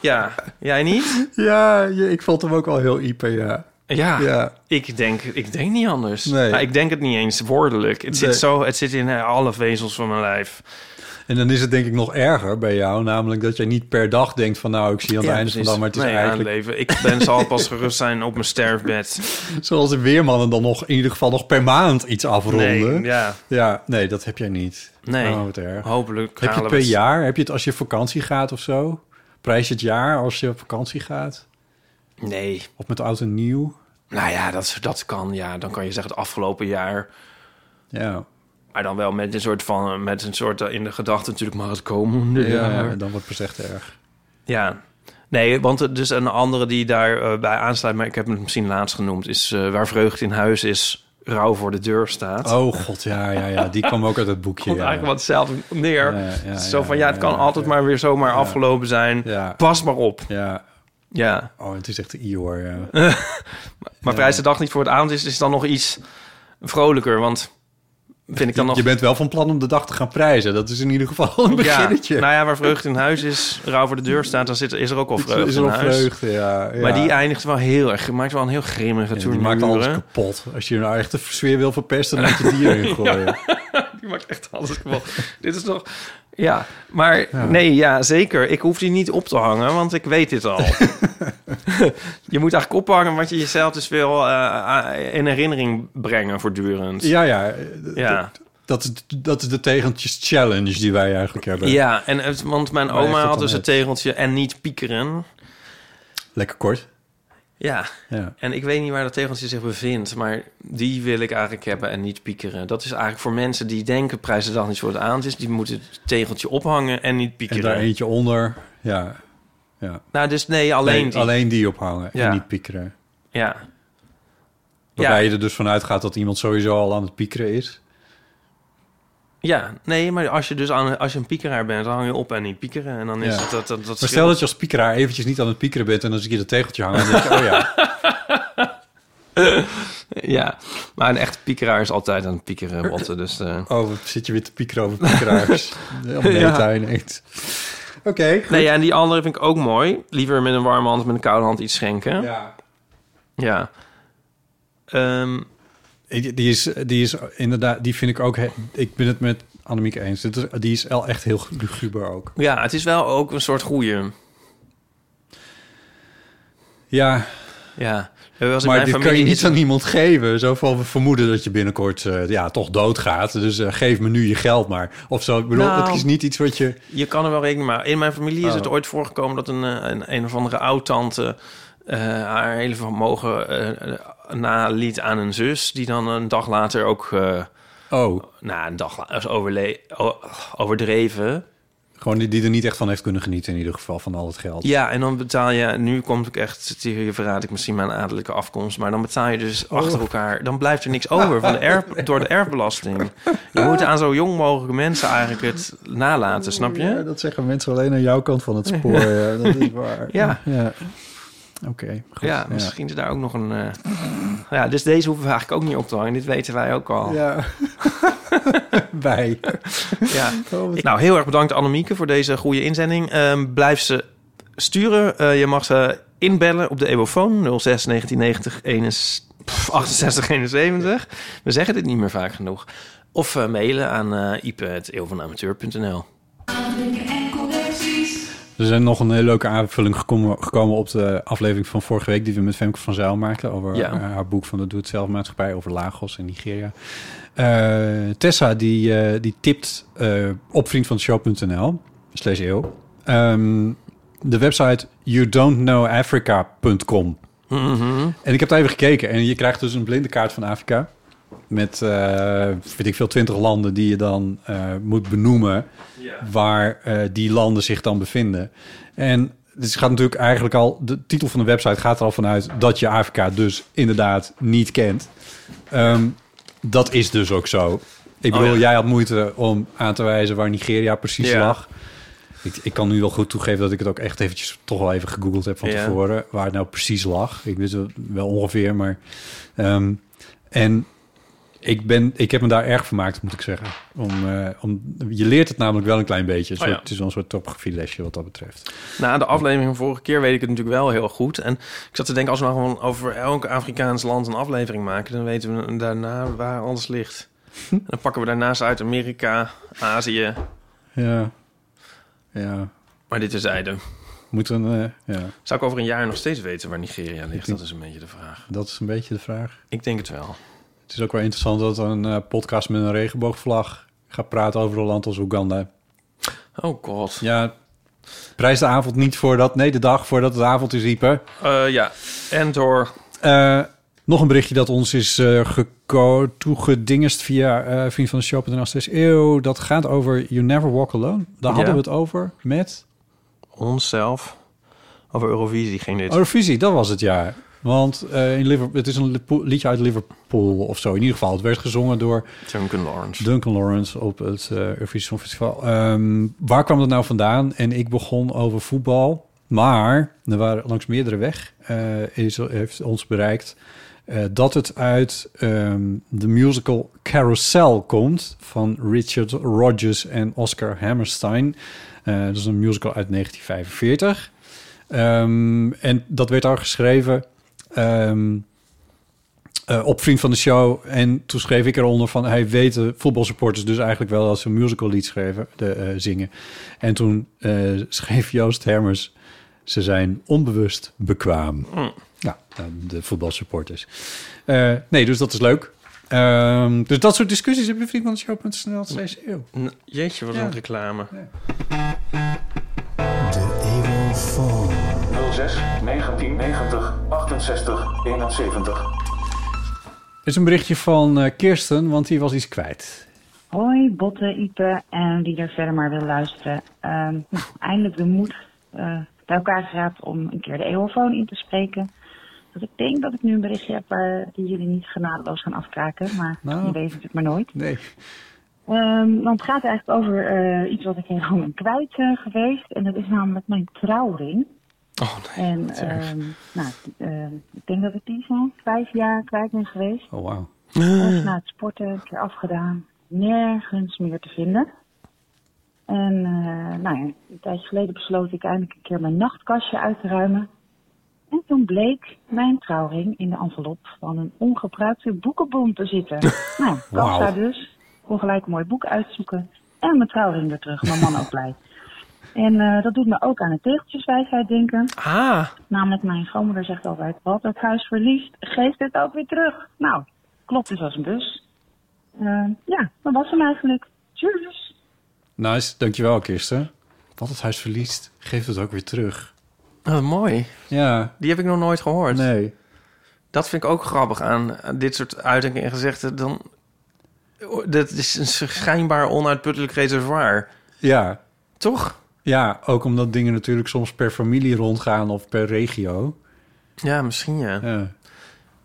ja, jij niet? Ja, je- ik vond hem ook al heel IP, ja. Ja, Ja. Ik, denk, ik denk niet anders. Nee. Maar ik denk het niet eens woordelijk. Het, Nee. zit, zo, het zit in eh, alle vezels van mijn lijf. En dan is het denk ik nog erger bij jou, namelijk dat jij niet per dag denkt van nou, ik zie aan het einde van dan, maar het is nee, eigenlijk aanleven. Ik ben, zal pas gerust zijn op mijn sterfbed. zoals de weermannen dan nog in ieder geval nog per maand iets Nee, afronden. ja. Ja, nee, dat heb jij niet. Nee, Oh, wat erg. hopelijk heb je het halen per we het- jaar? Heb je het als je op vakantie gaat of zo? Prijs je het jaar als je op vakantie gaat? Nee. Of met oud en nieuw? Nou ja, dat, dat kan. Ja, dan kan je zeggen het afgelopen jaar. Ja, Maar dan wel met een soort van... eh, Met een soort eh, in de gedachte natuurlijk maar het komende ja, jaar. dan wordt het echt erg. Ja. Nee, want er- dus een andere die daarbij bij aansluit... maar ik heb hem misschien laatst genoemd... is eh, waar vreugde in huis is, rouw voor de deur staat. Oh god, ja, ja, ja. Die kwam ook uit het boekje. komt ja. eigenlijk wel hetzelfde neer. Ja, ja, Het is zo ja, van, ja, het ja, kan ja, altijd ja. maar weer zomaar afgelopen zijn. Ja. Pas maar op. Ja, Ja. Oh, het is echt de Ior. Ja. maar maar prijs de dag niet voor het avond is, is dan nog iets vrolijker. Want vind ik dan je, nog... je bent wel van plan om de dag te gaan prijzen. Dat is in ieder geval een ja, beginnetje. nou ja, waar vreugde in huis is, rouw voor de deur staat, dan zit, is er ook al vreugde is er in al huis. vreugde, ja, ja. Maar die eindigt wel heel erg, maakt wel een heel grimmige Ja, tour. die maakt alles kapot. Als je nou echt de sfeer wil verpesten, dan moet je die erin gooien. die maakt echt alles kapot. dit is nog... Ja, maar nee, ja, zeker. Ik hoef die niet op te hangen, want ik weet dit al. je moet eigenlijk ophangen wat je jezelf dus wil eh, in herinnering brengen voortdurend. Ja, ja. Ja. Dat, is- dat is de tegentjes challenge die wij eigenlijk hebben. Ja, en, het- want mijn Waar heeft oma dat had dan dus het tegeltje en niet piekeren. Lekker kort. Ja. Ja. en ik weet niet waar dat tegeltje zich bevindt, maar die wil ik eigenlijk hebben en niet piekeren. Dat is eigenlijk voor mensen die denken prijs de dag niet voor het aand is, die moeten het tegeltje ophangen en niet En piekeren. daar eentje onder. Ja. ja. Nou, dus nee, alleen Nee, die. alleen die ophangen Ja. en niet piekeren. Ja. Waarbij je Ja. er dus vanuit gaat dat iemand sowieso al aan het piekeren is. ja, nee, maar als je dus aan, als je een piekeraar bent, dan hang je op en niet piekeren. En dan is Ja. het dat, dat, dat maar scheelt. stel dat je als piekeraar eventjes niet aan het piekeren bent... en dan zie je dat tegeltje hangen en dan denk je, oh ja. ja, maar een echte piekeraar is altijd aan het piekeren, botten. Dus, eh. Oh, wat zit je weer te piekeren over piekeraars. Helemaal meta ineens. Oké, Nee, ja, en die andere vind ik ook mooi. Liever met een warme hand, met een koude hand iets schenken. Ja. Ja. Ehm, Die die is, die is inderdaad, die vind ik ook... he- Ik ben het met Annemiek eens. Dit is, die is wel echt heel luguber ook. ja, het is wel ook een soort goeie. Ja, Ja. Er was in maar mijn dit familie kan je is- niet aan iemand geven. Zo van, we vermoeden dat je binnenkort eh, ja, toch doodgaat. Dus eh, geef me nu je geld maar. Of zo, ik bedoel, Nou. het is niet iets wat je... Je kan er wel rekening mee houden. In mijn familie is Oh. het ooit voorgekomen dat een, eh, een, een of andere oud-tante eh, haar hele vermogen eh, eh, naliet aan een zus, die dan een dag later ook. eh, Oh. Na Nou, een dag later is overle- o- overdreven. Gewoon die, die er niet echt van heeft kunnen genieten in ieder geval, van al het geld. Ja, en dan betaal je. Nu komt ik echt. Hier verraad ik misschien mijn adellijke afkomst. Maar dan betaal je dus Oh. achter elkaar. Dan blijft er niks over van de erf, door de erfbelasting. Je moet aan zo jong mogelijk mensen eigenlijk het nalaten, snap je? Ja, dat zeggen mensen alleen aan jouw kant van het spoor. ja, dat is waar. Ja. Oké, goed. ja, misschien is daar ook nog een. eh, Ja, dus deze hoeven we eigenlijk ook niet op te hangen. Dit weten wij ook al. Ja. Wij. Ja. Ik- nou, heel erg bedankt Annemieke voor deze goede inzending. Ehm, blijf ze sturen. Eh, je mag ze inbellen op de Evofoon 06 1990 61 pff, 68 71. We zeggen dit niet meer vaak genoeg. Of eh, mailen aan eh ipe.eeuwvanamateur.nl. Er zijn nog een hele leuke aanvulling gekomen, gekomen op de aflevering van vorige week... die we met Femke van Zijl maakten over Ja. eh, haar boek van de Doe-het-zelf-maatschappij... over Lagos en Nigeria. Eh, Tessa, die, eh, die tipt eh, op vriendvanshow.nl slash eeuw. Ehm, de website youdon'tknowafrica.com. En ik heb daar even gekeken. En je krijgt dus een blinde kaart van Afrika. Met, eh weet ik veel, twintig landen die je dan eh, moet benoemen. Waar eh, die landen zich dan bevinden. En dus gaat natuurlijk eigenlijk al... De titel van de website gaat er al vanuit dat je Afrika dus inderdaad niet kent. Ehm, dat is dus ook zo. Ik Oh, bedoel, ja. jij had moeite om aan te wijzen waar Nigeria precies Ja. lag. Ik, ik kan nu wel goed toegeven dat ik het ook echt eventjes toch wel even gegoogeld heb van Ja. tevoren. Waar het nou precies lag. Ik wist het wel ongeveer, maar... ehm, en ik, ben, ik heb me daar erg vermaakt, moet ik zeggen. Om, eh, om, je leert het namelijk wel een klein beetje. Een Oh ja. soort- Het is wel een soort topgefielesje wat dat betreft. Na de aflevering van vorige keer weet ik het natuurlijk wel heel goed. En ik zat te denken, als we nou gewoon over elk Afrikaans land een aflevering maken... dan weten we daarna waar alles ligt. En dan pakken we daarnaast uit Amerika, Azië. Ja, ja. Maar dit is zijde. Moet een, eh, ja. Zou ik over een jaar nog steeds weten waar Nigeria ligt? Dat is een beetje de vraag. dat is een beetje de vraag. Ik denk het wel. Het is ook wel interessant dat een eh, podcast met een regenboogvlag gaat praten over een land als Oeganda. Oh god. Ja, prijs de avond niet voordat, nee, de dag voordat het avond is, Ieper. Eh, ja, en door... Eh, nog een berichtje dat ons is eh, geko- toegedingest via eh, Vriend van de Show. en eeuw. Dat gaat over You Never Walk Alone. Daar Ja. hadden we het over met Onszelf. Over Eurovisie ging dit. Eurovisie. Dat was het jaar. Want eh, in Liverpool, het is een lipo- liedje uit Liverpool of zo. In ieder geval, het werd gezongen door Duncan Lawrence. Duncan Lawrence op het eh Eurovisie Songfestival. Ehm, waar kwam dat nou vandaan? En ik begon over voetbal. Maar er waren langs meerdere weg eh, is, heeft ons bereikt eh, dat het uit ehm, de musical Carousel komt van Richard Rodgers en Oscar Hammerstein. Eh, dat is een musical uit 1945. Ehm, en dat werd al geschreven ehm, eh, op Vriend van de Show. En toen schreef ik eronder van... hij weten voetbalsupporters dus eigenlijk wel... als ze een musical lied schreven, de, eh, zingen. En toen eh, schreef Joost Hermers... ze zijn onbewust bekwaam. Hm. Ja, eh, de voetbalsupporters. Eh, nee, dus dat is leuk. Ehm, dus dat soort discussies heb je op vriendvandeshow.nl steeds eeuw. N- Jeetje, wat Ja. een reclame. 06 1990 68 71. Er is een berichtje van eh, Kirsten, want die was iets kwijt. Hoi, Botte, Ipe en wie er verder maar wil luisteren. Ehm, nou, eindelijk de moed eh, bij elkaar geraapt om een keer de eeuwofoon in te spreken. Dus ik denk dat ik nu een berichtje heb eh, die jullie niet genadeloos gaan afkraken, maar Nou, je weet het natuurlijk maar nooit. Nee. Ehm, want het gaat eigenlijk over eh, iets wat ik heel lang ben kwijt eh, geweest. En dat is namelijk mijn trouwring. Oh nee. En ehm, nou, ehm, ik denk dat ik die zo'n vijf jaar kwijt ben geweest. Oh, wauw. Eh. Even na het sporten, een keer afgedaan. Nergens meer te vinden. En eh, nou ja, een tijdje geleden besloot ik eindelijk een keer mijn nachtkastje uit te ruimen. En toen bleek mijn trouwring in de envelop van een ongebruikte boekenbon te zitten. nou, Oh. kassa Wauw. dus. Kon gelijk een mooi boek uitzoeken. En mijn trouwring weer terug. Mijn man ook blij. En eh, dat doet me ook aan de tegeltjeswijsheid denken. Ah. Namelijk, mijn schoonmoeder zegt altijd: wat het huis verliest, geef het ook weer terug. Nou, klopt dus als een bus. Eh, ja, dat was hem eigenlijk. Tjus. Nice, dankjewel Kirsten. Wat het huis verliest, geeft het ook weer terug. Wat mooi. Ja. Die heb ik nog nooit gehoord. Nee. Dat vind ik ook grappig aan aan dit soort uitingen en gezegden. Dan, dat is een schijnbaar onuitputtelijk reservoir. Ja. Toch? Ja, ook omdat dingen natuurlijk soms per familie rondgaan of per regio. Ja, misschien ja. Ja.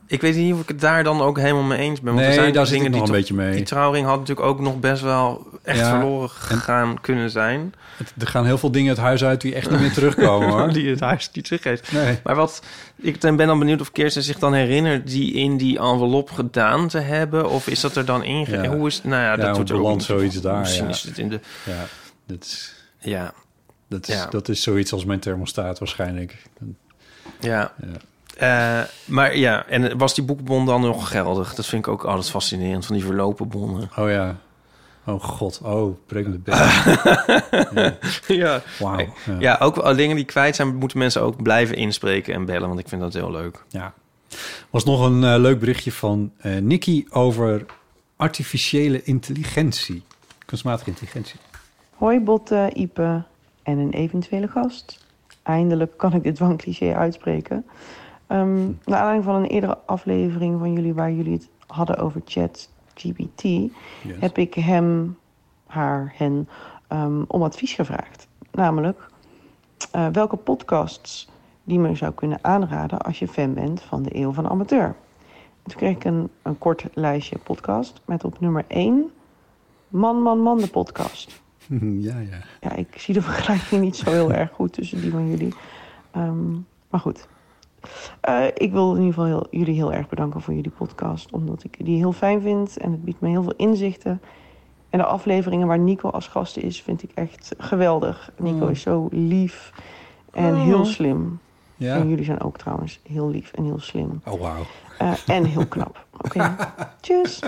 Ik weet niet of ik het daar dan ook helemaal mee eens ben. Want Nee, er zijn daar zit dingen ik nog die een toch- beetje mee. Die trouwring had natuurlijk ook nog best wel echt Ja, verloren gegaan kunnen zijn. Er gaan heel veel dingen het huis uit die echt niet meer terugkomen Oh, hoor. die het huis niet teruggeeft. Maar wat, ik dan ben dan benieuwd of Kirsten zich dan herinnert die in die envelop gedaan te hebben. Of is dat er dan inge... Ja. Hoe is, nou ja, dat hoe doet er ook belandt niet toe. zoiets daar. Misschien ja. is het in de... Ja, dat is... Ja. Dat is, Ja. dat is zoiets als mijn thermostaat waarschijnlijk. Ja. Eh, maar ja, en was die boekbon dan nog geldig? Dat vind ik ook altijd fascinerend, van die verlopen bonnen. Oh ja. Oh god, oh, breek me de bek. ja. ja. Wauw, Nee. ja. Ja. ook al dingen die kwijt zijn, moeten mensen ook blijven inspreken en bellen, want ik vind dat heel leuk. Ja. was nog een eh, leuk berichtje van eh Nicky over artificiële intelligentie. Kunstmatige intelligentie. Hoi Botte, Ipe en een eventuele gast. Eindelijk kan ik dit dwangcliché uitspreken. Ehm naar aanleiding van een eerdere aflevering van jullie... waar jullie het hadden over chat GPT... heb ik hem, haar, hen ehm, om advies gevraagd. Namelijk eh, welke podcasts die me zou kunnen aanraden... als je fan bent van de Eeuw van de Amateur. En toen kreeg ik een, een kort lijstje podcast met op nummer 1... Man, Man, Man, de podcast ja, ja. ja, ik zie de vergelijking niet zo heel erg goed tussen die van jullie. Ehm, maar goed. Eh, ik wil in ieder geval heel- jullie heel erg bedanken voor jullie podcast. Omdat ik die heel fijn vind en het biedt me heel veel inzichten. En de afleveringen waar Nico als gast is, vind ik echt geweldig. Nico Mm. is zo lief en Oh. Mm. heel slim. Ja. En jullie zijn ook trouwens heel lief en heel slim. Oh, wauw. Eh, en heel knap. Oké, tjus.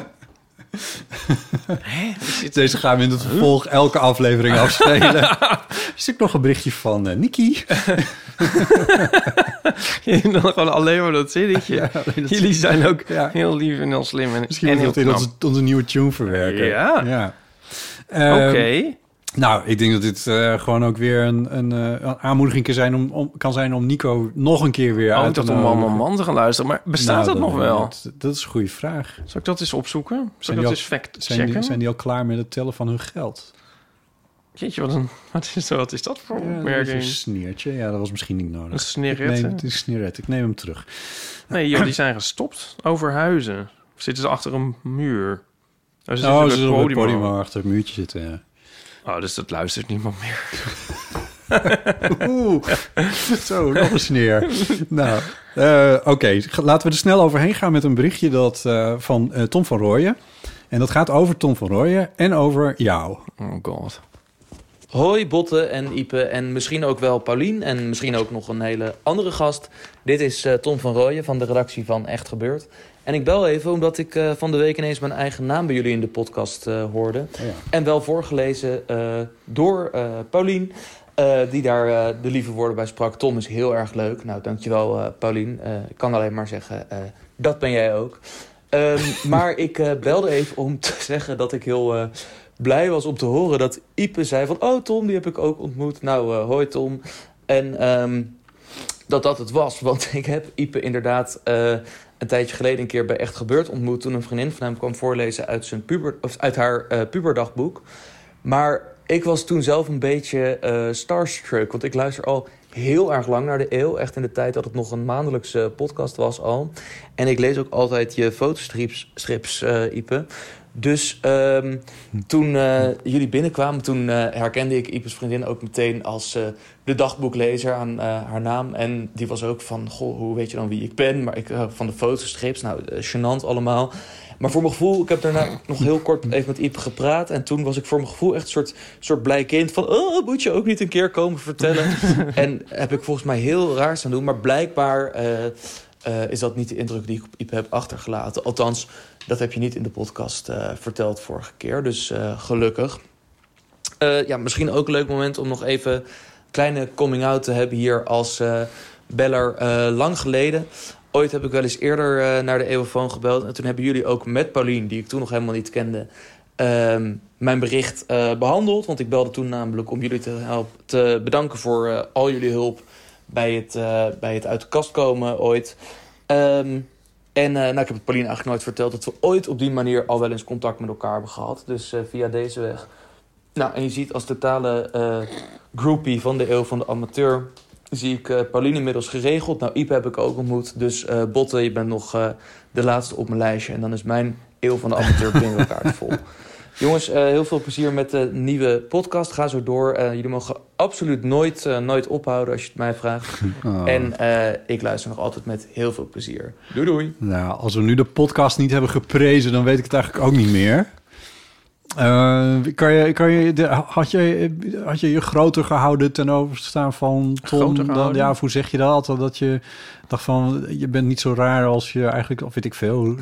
Deze gaan we in het vervolg elke aflevering afspelen. Er is ook nog een berichtje van eh, Nicky. En dan gewoon alleen maar dat zinnetje. dat Jullie zijn zinnetje. ook Ja. heel lief en heel slim en, Misschien en moet dat in heel knap. onze, onze nieuwe tune verwerken. Ja. Ehm, Oké. Nou, ik denk dat dit eh, gewoon ook weer een, een, eh, een aanmoediging kan zijn om, om, kan zijn om Nico nog een keer weer Oh, uit ik te dacht om Man, nodigen. Man, Man te gaan luisteren, maar Nou, bestaat dat nog wel? Dat, dat is een goede vraag. Zal ik dat eens opzoeken? Zal Zijn ik die dat al- eens fact zijn die, checken? zijn die al klaar met het tellen van hun geld? Jeetje, wat, een, wat, is, wat is dat voor Ja, dat is een opmerking? sneertje. Ja, dat was misschien niet nodig. Een sneeret, Ik hè? neem, het is een sneeret. Ik neem hem terug. Nee, joh, die zijn gestopt over huizen. Of zitten ze achter een muur? Oh, oh, bij ze zullen op het Podimo. podium achter het muurtje zitten. Ja. Oh, dus dat luistert niemand meer. Oeh, zo, nog een sneer. Nou, eh, oké. Laten we er snel overheen gaan met een berichtje dat, eh, van eh, Tom van Rooyen. En dat gaat over Tom van Rooyen en over jou. Oh god. Hoi Botte en Ipe en misschien ook wel Paulien en misschien ook nog een hele andere gast. Dit is eh, Tom van Rooyen van de redactie van Echt Gebeurd. En ik bel even omdat ik eh, van de week ineens mijn eigen naam bij jullie in de podcast eh, hoorde. En wel voorgelezen eh, door eh Paulien, eh, die daar eh, de lieve woorden bij sprak. Tom is heel erg leuk. Nou, dankjewel eh Paulien. Eh, ik kan alleen maar zeggen, eh, dat ben jij ook. Ehm, maar ik eh, belde even om te zeggen dat ik heel eh, blij was om te horen dat Ipe zei van... Oh, Tom, die heb ik ook ontmoet. Nou, eh, hoi Tom. En ehm, dat dat het was. Want ik heb Ipe inderdaad eh, een tijdje geleden een keer bij Echt Gebeurd ontmoet... toen een vriendin van hem kwam voorlezen uit, zijn puber, of uit haar eh, puberdagboek. Maar ik was toen zelf een beetje eh, starstruck. Want ik luister al heel erg lang naar de eeuw. Echt in de tijd dat het nog een maandelijkse podcast was al. En ik lees ook altijd je fotostrips, strips, eh, Ipe. Dus ehm, toen eh, jullie binnenkwamen, toen eh, herkende ik Ipe's vriendin ook meteen als eh, de dagboeklezer aan eh, haar naam. En die was ook van, goh, hoe weet je dan wie ik ben? Maar ik, eh, van de fotostrips, nou, eh, gênant allemaal. Maar voor mijn gevoel, ik heb daarna nog heel kort even met Iep gepraat. En toen was ik voor mijn gevoel echt een soort, soort blij kind van... Oh, moet je ook niet een keer komen vertellen? en heb ik volgens mij heel raar staan doen. Maar blijkbaar eh, eh, is dat niet de indruk die ik op Iep heb achtergelaten. Althans, dat heb je niet in de podcast eh, verteld vorige keer. Dus eh, gelukkig. Eh, ja, misschien ook een leuk moment om nog even een kleine coming-out te hebben hier als eh, beller eh, lang geleden. Ooit heb ik wel eens eerder eh, naar de Eeuwenfoon gebeld. En toen hebben jullie ook met Paulien, die ik toen nog helemaal niet kende, ehm, mijn bericht eh, behandeld. Want ik belde toen namelijk om jullie te, helpen, te bedanken voor eh, al jullie hulp bij het, eh, bij het uit de kast komen ooit. Ehm, en eh, nou, ik heb het Pauline eigenlijk nooit verteld dat we ooit op die manier al wel eens contact met elkaar hebben gehad. Dus eh, via deze weg. Nou, en je ziet als totale eh, groupie van de eeuw van de amateur. Zie ik eh Pauline inmiddels geregeld. Nou, Ipe heb ik ook ontmoet. Dus eh, Botte, je bent nog eh, de laatste op mijn lijstje. En dan is mijn eeuw van de amateur binnen elkaar vol. Jongens, eh, heel veel plezier met de nieuwe podcast. Ga zo door. Eh, jullie mogen absoluut nooit, eh, nooit ophouden als je het mij vraagt. Oh. En eh, ik luister nog altijd met heel veel plezier. Doei doei. Nou, als we nu de podcast niet hebben geprezen, dan weet ik het eigenlijk ook niet meer. Eh, kan je, kan je, de- had, je, had je je groter gehouden ten overstaan van Tom? Groter Dan, gehouden? ja, of hoe zeg je dat? Dat je dacht van, je bent niet zo raar als je eigenlijk, of weet ik veel.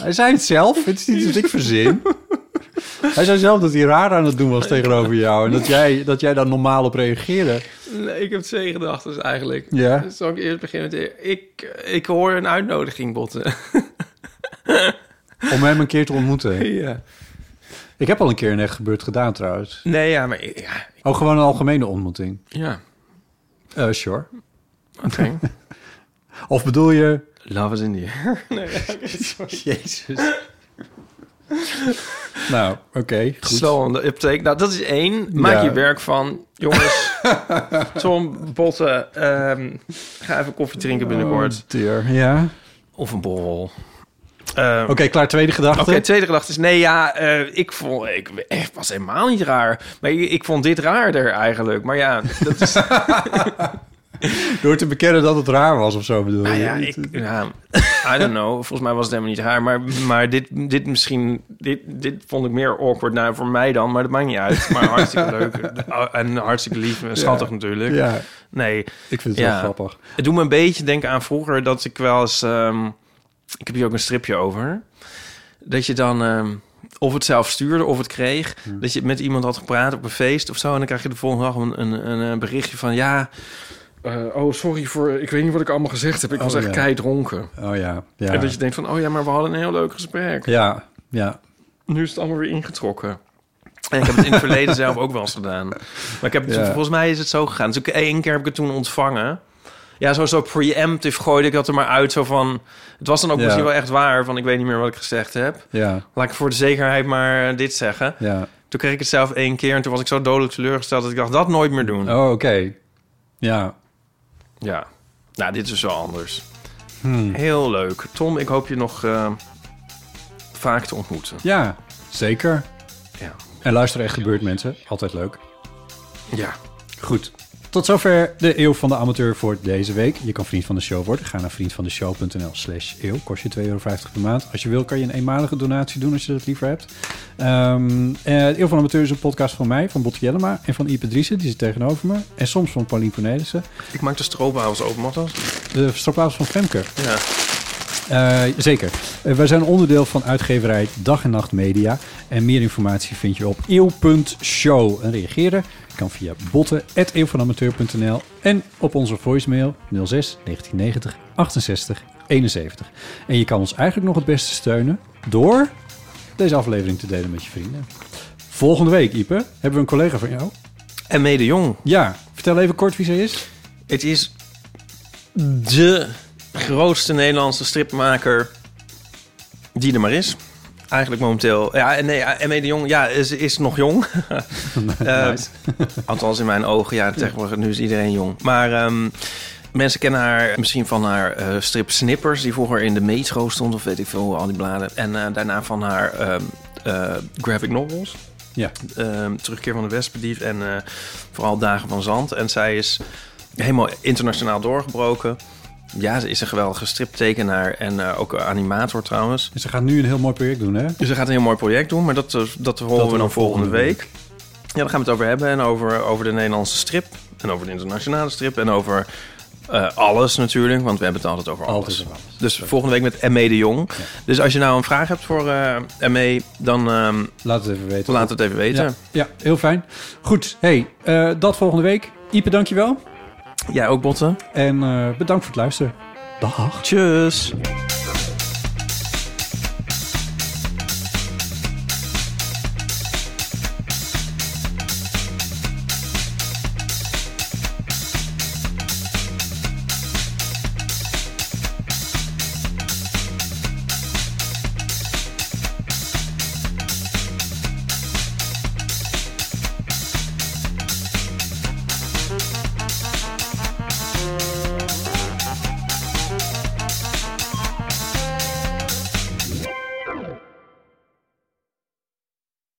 Hij zei het zelf, het is niet dat ik verzin. Hij zei zelf dat hij raar aan het doen was tegenover jou. En dat jij, dat jij daar normaal op reageerde. Nee, ik heb twee gedachten dus eigenlijk. Ja. Dus Zal ik eerst beginnen met... Ik, ik hoor een uitnodiging, botten. Om hem een keer te ontmoeten. Ja. Ik heb al een keer een echt gebeurd gedaan trouwens. Nee, ja, maar... Ja. Oh, gewoon een algemene ontmoeting. ja. Eh sure. Oké. Of bedoel je... Love is in the air. Nee, Jezus. Nou, oké. goed. Slow on the uptake. Nou, dat is één. Maak Ja. je werk van. Jongens, Tom, Botten, ehm, ga even koffie drinken binnenkort. Oh, dear. Ja. Of een borrel. Oké, klaar. Tweede gedachte. Ehm, Oké, tweede gedachte is... Nee, ja, eh, ik vond... Ik, eh, was helemaal niet raar. Maar ik, ik vond dit raarder eigenlijk. Maar ja, dat is... Door te bekennen dat het raar was of zo bedoel je? eh? Nou ja, ik, ja, I don't know. Volgens mij was het helemaal niet haar. Maar, maar dit, dit misschien... Dit, dit vond ik meer awkward nou, voor mij dan. Maar dat maakt niet uit. Maar hartstikke leuk. En hartstikke lief. en Schattig Ja. natuurlijk. Ja. Nee. Ik vind het wel grappig. Het doet me een beetje denken aan vroeger dat ik wel eens... ehm, ik heb hier ook een stripje over. Dat je dan... ehm, of het zelf stuurde of het kreeg. Dat je met iemand had gepraat op een feest of zo. En dan krijg je de volgende dag een, een, een eh, berichtje van... Ja, eh, oh, sorry voor... Ik weet niet wat ik allemaal gezegd heb. Ik was Oh, echt ja. keidronken. Oh ja. Ja. En dat je denkt van, oh ja, maar we hadden een heel leuk gesprek. ja, ja. Nu is het allemaal weer ingetrokken. En ik heb het in het verleden zelf ook wel eens gedaan. Maar ik heb het, Ja. volgens mij is het zo gegaan. Dus ik- één keer heb ik het toen ontvangen. Ja, zo, zo preemptive gooide ik dat er maar uit. Zo van, het was dan ook Ja. misschien wel echt waar. Van, ik weet niet meer wat ik gezegd heb. Ja. Laat ik voor de zekerheid maar eh, dit zeggen. Ja. Toen kreeg ik het zelf één keer. En toen was ik zo dodelijk teleurgesteld dat ik dacht, dat nooit meer doen. Oh, oké. Ja. Ja. Nou, dit is wel anders. Hmm. Heel leuk. Tom, ik hoop je nog eh, vaak te ontmoeten. Ja, zeker. Ja. En luisteren echt gebeurt, mensen. Altijd leuk. Ja. Goed. Tot zover de Eeuw van de Amateur voor deze week. Je kan vriend van de show worden. Ga naar vriendvandeshow.nl slash eeuw. Kost je 2,50 euro per maand. Als je wil kan je een eenmalige donatie doen als je dat liever hebt. Ehm eh, de Eeuw van de Amateur is een podcast van mij, van Botte Jellema en van Ipe Driessen. Die zit tegenover me. En soms van Paulien Cornelissen. Ik maak de stroopwafels open, mag dat? De stropwaas van Femke. Ja. Eh, zeker. Eh, wij zijn onderdeel van uitgeverij Dag en Nacht Media. En meer informatie vind je op eeuw.show. En reageren kan via botten.eeuwvanamateur.nl en op onze voicemail 06 1990 68 71. En je kan ons eigenlijk nog het beste steunen door deze aflevering te delen met je vrienden. Volgende week, Ipe, hebben we een collega van jou. En mede jong. Ja, vertel even kort wie ze is. Het is de grootste Nederlandse stripmaker die er maar is. Eigenlijk momenteel. Ja, en nee, Emme de Jong, ja, ze is nog jong. Eh, althans in mijn ogen, ja, tegenwoordig nu is iedereen jong. Maar ehm, mensen kennen haar misschien van haar eh, strip Snippers, die vroeger in de metro stond, of weet ik veel, al die bladen. En eh, daarna van haar ehm, eh, graphic novels. Ja. Ehm, terugkeer van de Westbedief en eh, vooral Dagen van Zand. En zij is helemaal internationaal doorgebroken. Ja, ze is een geweldige striptekenaar en eh, ook animator trouwens. Ze gaat nu een heel mooi project doen, hè? Dus ze gaat een heel mooi project doen, maar dat, eh, dat horen Dat we doen dan we volgende volgende week. Ja, daar gaan we het over hebben. En over, over de Nederlandse strip. En over de internationale strip. En over eh, alles natuurlijk, want we hebben het altijd over alles. Dus volgende week met ME de Jong. Dus als je nou een vraag hebt voor eh ME, dan... ehm, laat het even weten. Laat het even weten. Ja, ja, heel fijn. Goed, hey, eh, dat volgende week. Ipe, dankjewel. Jij ook, Botten. En eh, bedankt voor het luisteren. Dag. Tjus.